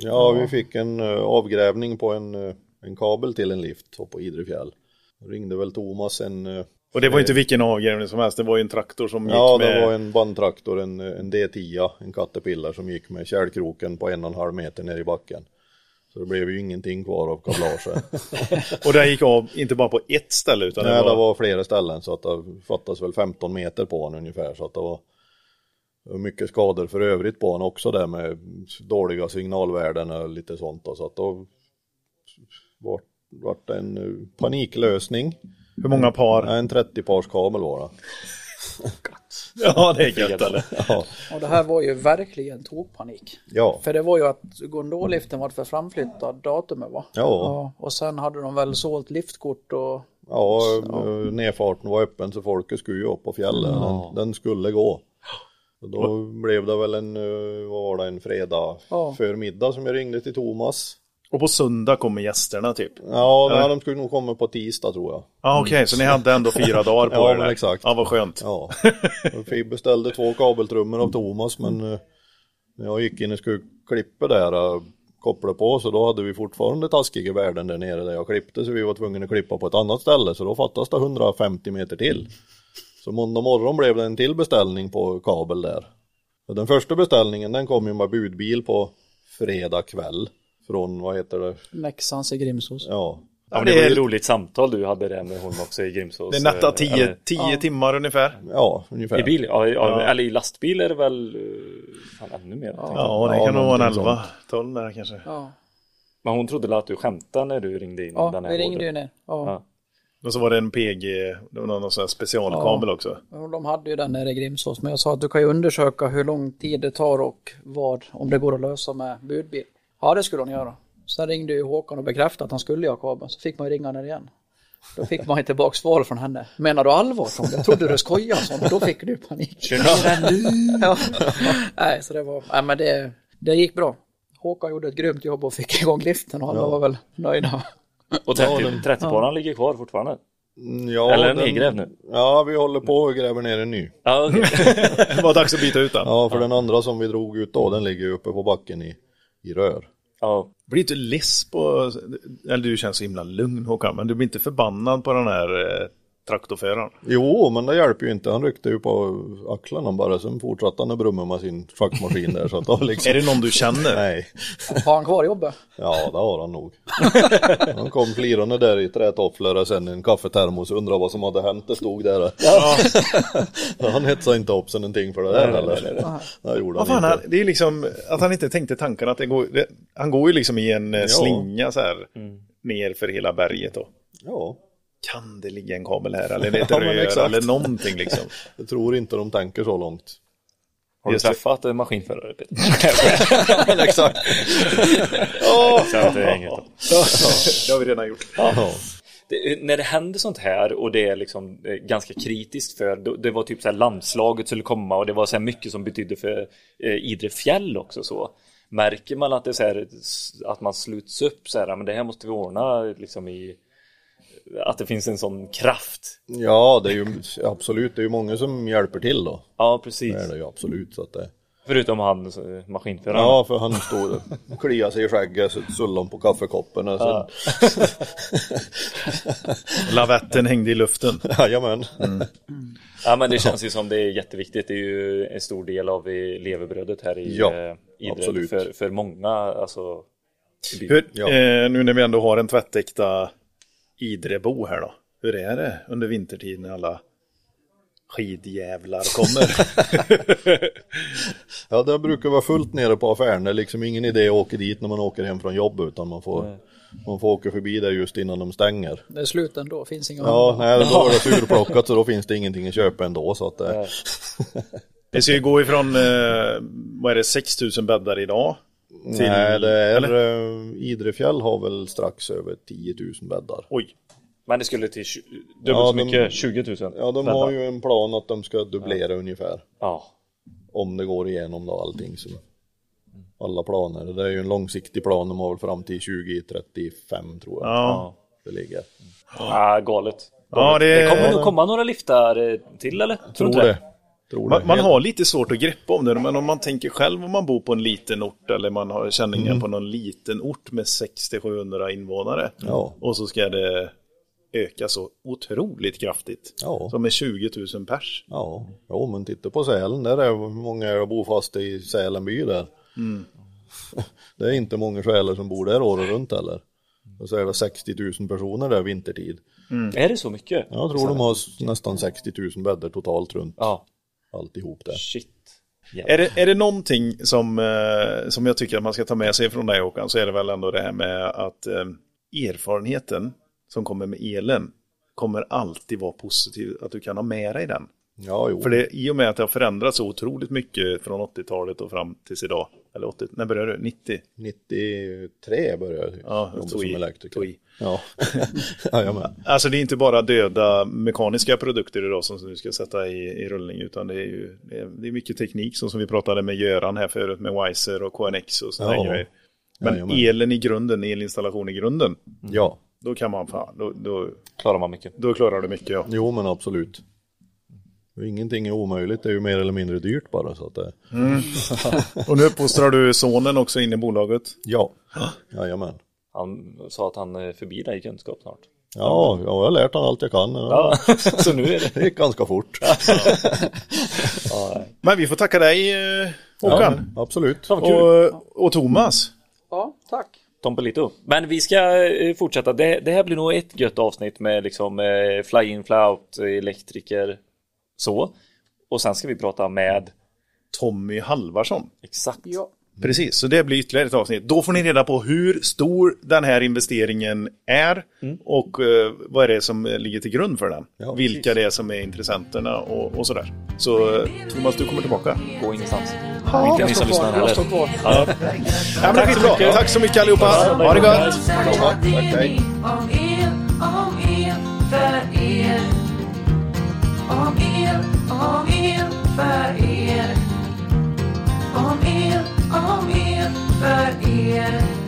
Speaker 13: ja, vi fick en eh, avgrävning på en, eh, en kabel till en lift och på Idrefjäll. Då ringde väl Thomas en, eh,
Speaker 1: Och det var ju inte vilken avgrävning som helst, det var ju en traktor som
Speaker 13: ja
Speaker 1: gick med.
Speaker 13: det var en bandtraktor, en, eh, en D10, en Caterpillar som gick med kärlkroken på en och en halv meter ner i backen. Så det blev ju ingenting kvar av kablaget.
Speaker 1: <laughs> Och den gick av, inte bara på ett ställe utan
Speaker 13: Nej,
Speaker 1: det var...
Speaker 13: det var flera ställen så att det fattas väl 15 meter på honom ungefär så att det var det var mycket skador för övrigt på honom också där med dåliga signalvärden och lite sånt då, så att då vart, vart det en eh, paniklösning.
Speaker 1: Hur många par?
Speaker 13: En 30 pars kabel var det. <laughs>
Speaker 1: Ja, det är gött eller?
Speaker 13: Ja,
Speaker 8: Och det här var ju verkligen tokpanik.
Speaker 13: ja.
Speaker 8: För det var ju att gondoliften var för framflyttad datumet va?
Speaker 13: Ja.
Speaker 8: Och sen hade de väl sålt liftkort och
Speaker 13: ja eh, nedfarten var öppen så folket skulle ju upp på fjällen. Den, den skulle gå. Och då blev det väl en, eh, vad var det, en fredag
Speaker 8: Ja.
Speaker 13: förmiddag som jag ringde till Thomas.
Speaker 1: Och på söndag kommer gästerna typ? Ja,
Speaker 13: Ja, nej,
Speaker 1: Eller?
Speaker 13: de skulle nog komma på tisdag tror jag.
Speaker 1: ah, okej, så ni hade ändå fyra dagar
Speaker 13: <laughs>
Speaker 1: på
Speaker 13: Ja,
Speaker 1: er
Speaker 13: men
Speaker 1: där.
Speaker 13: exakt.
Speaker 1: Ja, vad skönt. <laughs>
Speaker 13: Ja. Och Vi beställde två kabeltrummor av Thomas men eh, när jag gick in och skulle klippa där och koppla på så då hade vi fortfarande taskiga värden där nere där jag klippte så vi var tvungna att klippa på ett annat ställe så då fattades det 150 meter till. Så måndag morgon blev det en till beställning på kabel där. Och Den första beställningen den kom ju med budbil på fredag kväll från vad heter det,
Speaker 8: Leksands i Grimsås.
Speaker 13: ja
Speaker 4: Ja, men det var ju ett roligt samtal du hade där med hon också i Grimsås.
Speaker 1: Det nattar
Speaker 4: Eh,
Speaker 1: tio,
Speaker 4: eller-
Speaker 1: tio timmar ungefär.
Speaker 13: Ja, ungefär.
Speaker 4: I bil? Ja, ja,
Speaker 1: Ja.
Speaker 4: eller i lastbil är det väl eh, fan, ännu mer. tänkte jag.
Speaker 1: Ja, det kan nog vara en
Speaker 13: någonting
Speaker 1: elva, tolv där kanske.
Speaker 8: Ja,
Speaker 4: Men hon trodde väl att du skämtade när du ringde in
Speaker 8: ja
Speaker 4: den här
Speaker 8: vi ringde ju
Speaker 4: ordern.
Speaker 8: ner. Ja.
Speaker 1: Och så var det en PG, det var någon sån här specialkabel också.
Speaker 8: Och De hade ju den nere i Grimsås men jag sa att du kan ju undersöka hur lång tid det tar och vad, om det går att lösa med budbil. Ja det skulle hon göra. Sen ringde ju Håkan och bekräftade att han skulle göra kabeln så fick man ju ringa ner igen. Då fick man ju tillbaka svar från henne. Menar du allvar Tom? Jag trodde du skojade sånt. alltså, Då fick du panik. Kör nu! <laughs> Ja. Nej, så det var, nej men det, det gick bra. Håkan gjorde ett grymt jobb och fick igång liften och alla var väl nöjda.
Speaker 4: Och 30 30-paran ligger kvar fortfarande.
Speaker 13: Mm, Ja,
Speaker 4: Eller en nedgrävd nu.
Speaker 13: Ja, vi håller på och gräver ner en ny.
Speaker 4: Ja, okej.
Speaker 1: <laughs> Det var dags att byta ut den.
Speaker 13: Ja, för den andra som vi drog ut då, den ligger ju uppe på backen i, i rör.
Speaker 4: ja.
Speaker 1: Blir inte less på, eller du känns så himla lugn Håkan, men du blir inte förbannad på den här eh, traktorföraren?
Speaker 13: Jo, men det hjälper ju inte. Han ryckte ju på axlarna bara, sen fortsatte han att brumma med sin schackmaskin där. Så att
Speaker 1: <laughs>
Speaker 13: då liksom...
Speaker 1: Är det någon du känner?
Speaker 13: Nej.
Speaker 8: Har han kvar jobbet?
Speaker 13: Ja, det har han nog.
Speaker 1: <laughs>
Speaker 13: Han kom flirande där i trätofflor och sen en kaffetermos och undrade vad som hade hänt. Det stod där. <laughs> han hetsade inte upp sig någonting för det där heller. Det gjorde
Speaker 1: Vad
Speaker 13: han
Speaker 1: fan,
Speaker 13: inte.
Speaker 1: han, det är ju liksom att han inte tänkte tanken att det går, det, han går ju liksom i en eh, slinga så här ner för hela berget då.
Speaker 13: Ja,
Speaker 1: Kan det ligga en kabel här
Speaker 13: <laughs>
Speaker 1: eller
Speaker 13: Ja,
Speaker 1: lite
Speaker 13: men
Speaker 1: rör
Speaker 13: exakt.
Speaker 1: eller någonting liksom?
Speaker 13: <laughs> jag tror inte de tänker så långt.
Speaker 4: Har du träffat en maskinförare
Speaker 13: <laughs>
Speaker 4: Peter?
Speaker 1: <laughs>
Speaker 13: Men exakt.
Speaker 4: Så att det är inget.
Speaker 1: Det har vi redan gjort.
Speaker 4: det, när det händer sånt här och det är liksom eh, ganska kritiskt för då, det var typ så här landslaget skulle komma och det var så här mycket som betydde för eh, Idre fjäll också så märker man att det är så här, s- att man sluts upp så här, "Ja, men det här måste vi ordna liksom i att det finns en sån kraft.
Speaker 13: Ja, det är ju absolut, det är ju många som hjälper till då.
Speaker 4: Ja,
Speaker 13: Det är
Speaker 4: precis.
Speaker 13: det ju absolut så att det...
Speaker 4: Förutom han eh, maskinföraren.
Speaker 13: Ja, för han stod och kliade sig i skägget, så sullade han på kaffekoppen och <laughs> sen...
Speaker 1: Lavetten hängde i luften.
Speaker 13: <laughs>
Speaker 1: Mm.
Speaker 13: Jajamän. Mm.
Speaker 4: Ja men det känns ju som det är jätteviktigt. Det är ju en stor del av eh, levebrödet här i
Speaker 13: Ja,
Speaker 4: eh, Idre
Speaker 13: absolut.
Speaker 4: för, för många. Alltså, i byn.
Speaker 1: Hur,
Speaker 13: Ja.
Speaker 1: eh, nu när vi ändå har en tvättäkta Idrebo här då. Hur är det under vintertid när alla skidjävlar kommer?
Speaker 13: <laughs> Ja, det brukar vara fullt nere på affären. Det är liksom ingen idé att åka dit när man åker hem från jobb utan man får, man får åka förbi där just innan de stänger.
Speaker 8: Det är slut ändå, finns inga
Speaker 13: Ja, nej, då är det surplockat så då finns det ingenting att köpa ändå så att det... <laughs>
Speaker 1: Vi ska ju gå ifrån, eh, vad är det, 6000 bäddar idag? Till-
Speaker 13: Nej, det är...
Speaker 1: eller?
Speaker 13: eh, Idrefjäll har väl strax över 10 000 bäddar.
Speaker 1: Oj,
Speaker 4: Men det skulle till tju- dubbelt
Speaker 13: Ja,
Speaker 4: så
Speaker 13: de-
Speaker 4: mycket, 20 000.
Speaker 13: Ja, de har ju en plan att de ska dubblera ungefär.
Speaker 4: Ja.
Speaker 13: om det går igenom då allting som alla planer. Det är ju en långsiktig plan, de har väl fram till 2035 tror jag.
Speaker 1: ja.
Speaker 13: Det ligger.
Speaker 4: Ah, galet.
Speaker 1: ja det,
Speaker 4: Det kommer nog komma några liftar eh, till eller? Tror
Speaker 13: Tror
Speaker 4: inte
Speaker 13: det. Tror det.
Speaker 1: Man, man
Speaker 13: Helt-
Speaker 1: har lite svårt att greppa om det, men om man tänker själv om man bor på en liten ort eller man har känningar
Speaker 13: Mm.
Speaker 1: på någon liten ort med 600-700 invånare
Speaker 13: Ja.
Speaker 1: och så ska det öka så otroligt kraftigt
Speaker 13: Ja.
Speaker 1: som är 20 000 pers. Mm.
Speaker 13: Ja, jo men titta på Sälen, där är hur många är det bofasta i Sälenby där. Det är inte många själar som bor där året runt heller. Och så är det 60 000 personer där vintertid.
Speaker 1: Mm.
Speaker 4: Eh,
Speaker 10: Är det så mycket?
Speaker 13: Jag tror de har s- nästan 60 000 bäddar totalt runt
Speaker 10: Ja.
Speaker 13: alltihop där.
Speaker 10: Shit.
Speaker 1: Är det, är det någonting som, eh, som jag tycker att man ska ta med sig från dig Håkan så är det väl ändå det här med att eh, erfarenheten som kommer med elen kommer alltid vara positiv, att du kan ha med dig den.
Speaker 13: Ja, jo.
Speaker 1: För det, i och med att det har förändrats så otroligt mycket från 80-talet och fram tills idag, eller 80, när började du? 90?
Speaker 13: 93 började jag
Speaker 1: Ja,
Speaker 13: jobba
Speaker 1: tog
Speaker 13: som
Speaker 1: i, tog i.
Speaker 13: elektriker. Ja, <laughs> jajamän.
Speaker 1: Alltså det är inte bara döda mekaniska produkter idag som du ska sätta i, i rullning utan det är ju det är, det är mycket teknik som, som vi pratade med Göran här förut med Wiser och KNX och sådana
Speaker 13: Ja.
Speaker 1: här grejer. Men
Speaker 13: Jajamän.
Speaker 1: elen i grunden, elinstallation i grunden,
Speaker 13: Ja,
Speaker 1: då kan man fan, då, då,
Speaker 10: Klarar man mycket.
Speaker 1: då klarar du mycket ja.
Speaker 13: jo men absolut. Ingenting är omöjligt, det är ju mer eller mindre dyrt bara så att det...
Speaker 1: Mm. <laughs> Och nu uppfostrar du sonen också in i bolaget.
Speaker 13: Ja, jajamän.
Speaker 10: Han sa att han är förbi dig i kunskap snart.
Speaker 13: Ja, jag har lärt han allt jag kan.
Speaker 10: Ja, <laughs> så nu är det.
Speaker 13: Det gick ganska fort.
Speaker 1: Men vi får tacka dig eh, Håkan
Speaker 13: Ja, absolut.
Speaker 1: och, och Thomas.
Speaker 8: Ja, tack.
Speaker 10: Tompolito. Men vi ska eh, fortsätta. Det, det här blir nog ett gött avsnitt med liksom eh, fly-in, fly-out, elektriker, så. Och sen ska vi prata med,
Speaker 1: Tommy Halvarsson.
Speaker 10: exakt,
Speaker 8: Ja.
Speaker 1: Precis, så det blir ytterligare ett avsnitt. Då får ni reda på hur stor den här investeringen är
Speaker 10: Mm.
Speaker 1: och eh, vad är det som eh, ligger till grund för den.
Speaker 13: Ja,
Speaker 1: Vilka det är som är intressenterna och, och sådär. Så eh, Thomas, du kommer tillbaka.
Speaker 10: gå ingenstans.
Speaker 8: Jag
Speaker 10: ni
Speaker 8: står
Speaker 10: som lyssnar
Speaker 8: kvar. Jag
Speaker 10: heller.
Speaker 8: står kvar.
Speaker 1: Ja, men Tack, så Tack så mycket allihopa. Ha det gott!
Speaker 6: Vad det ni om er, om er, för er? Om er, om er, för er? Om er, om er, för er?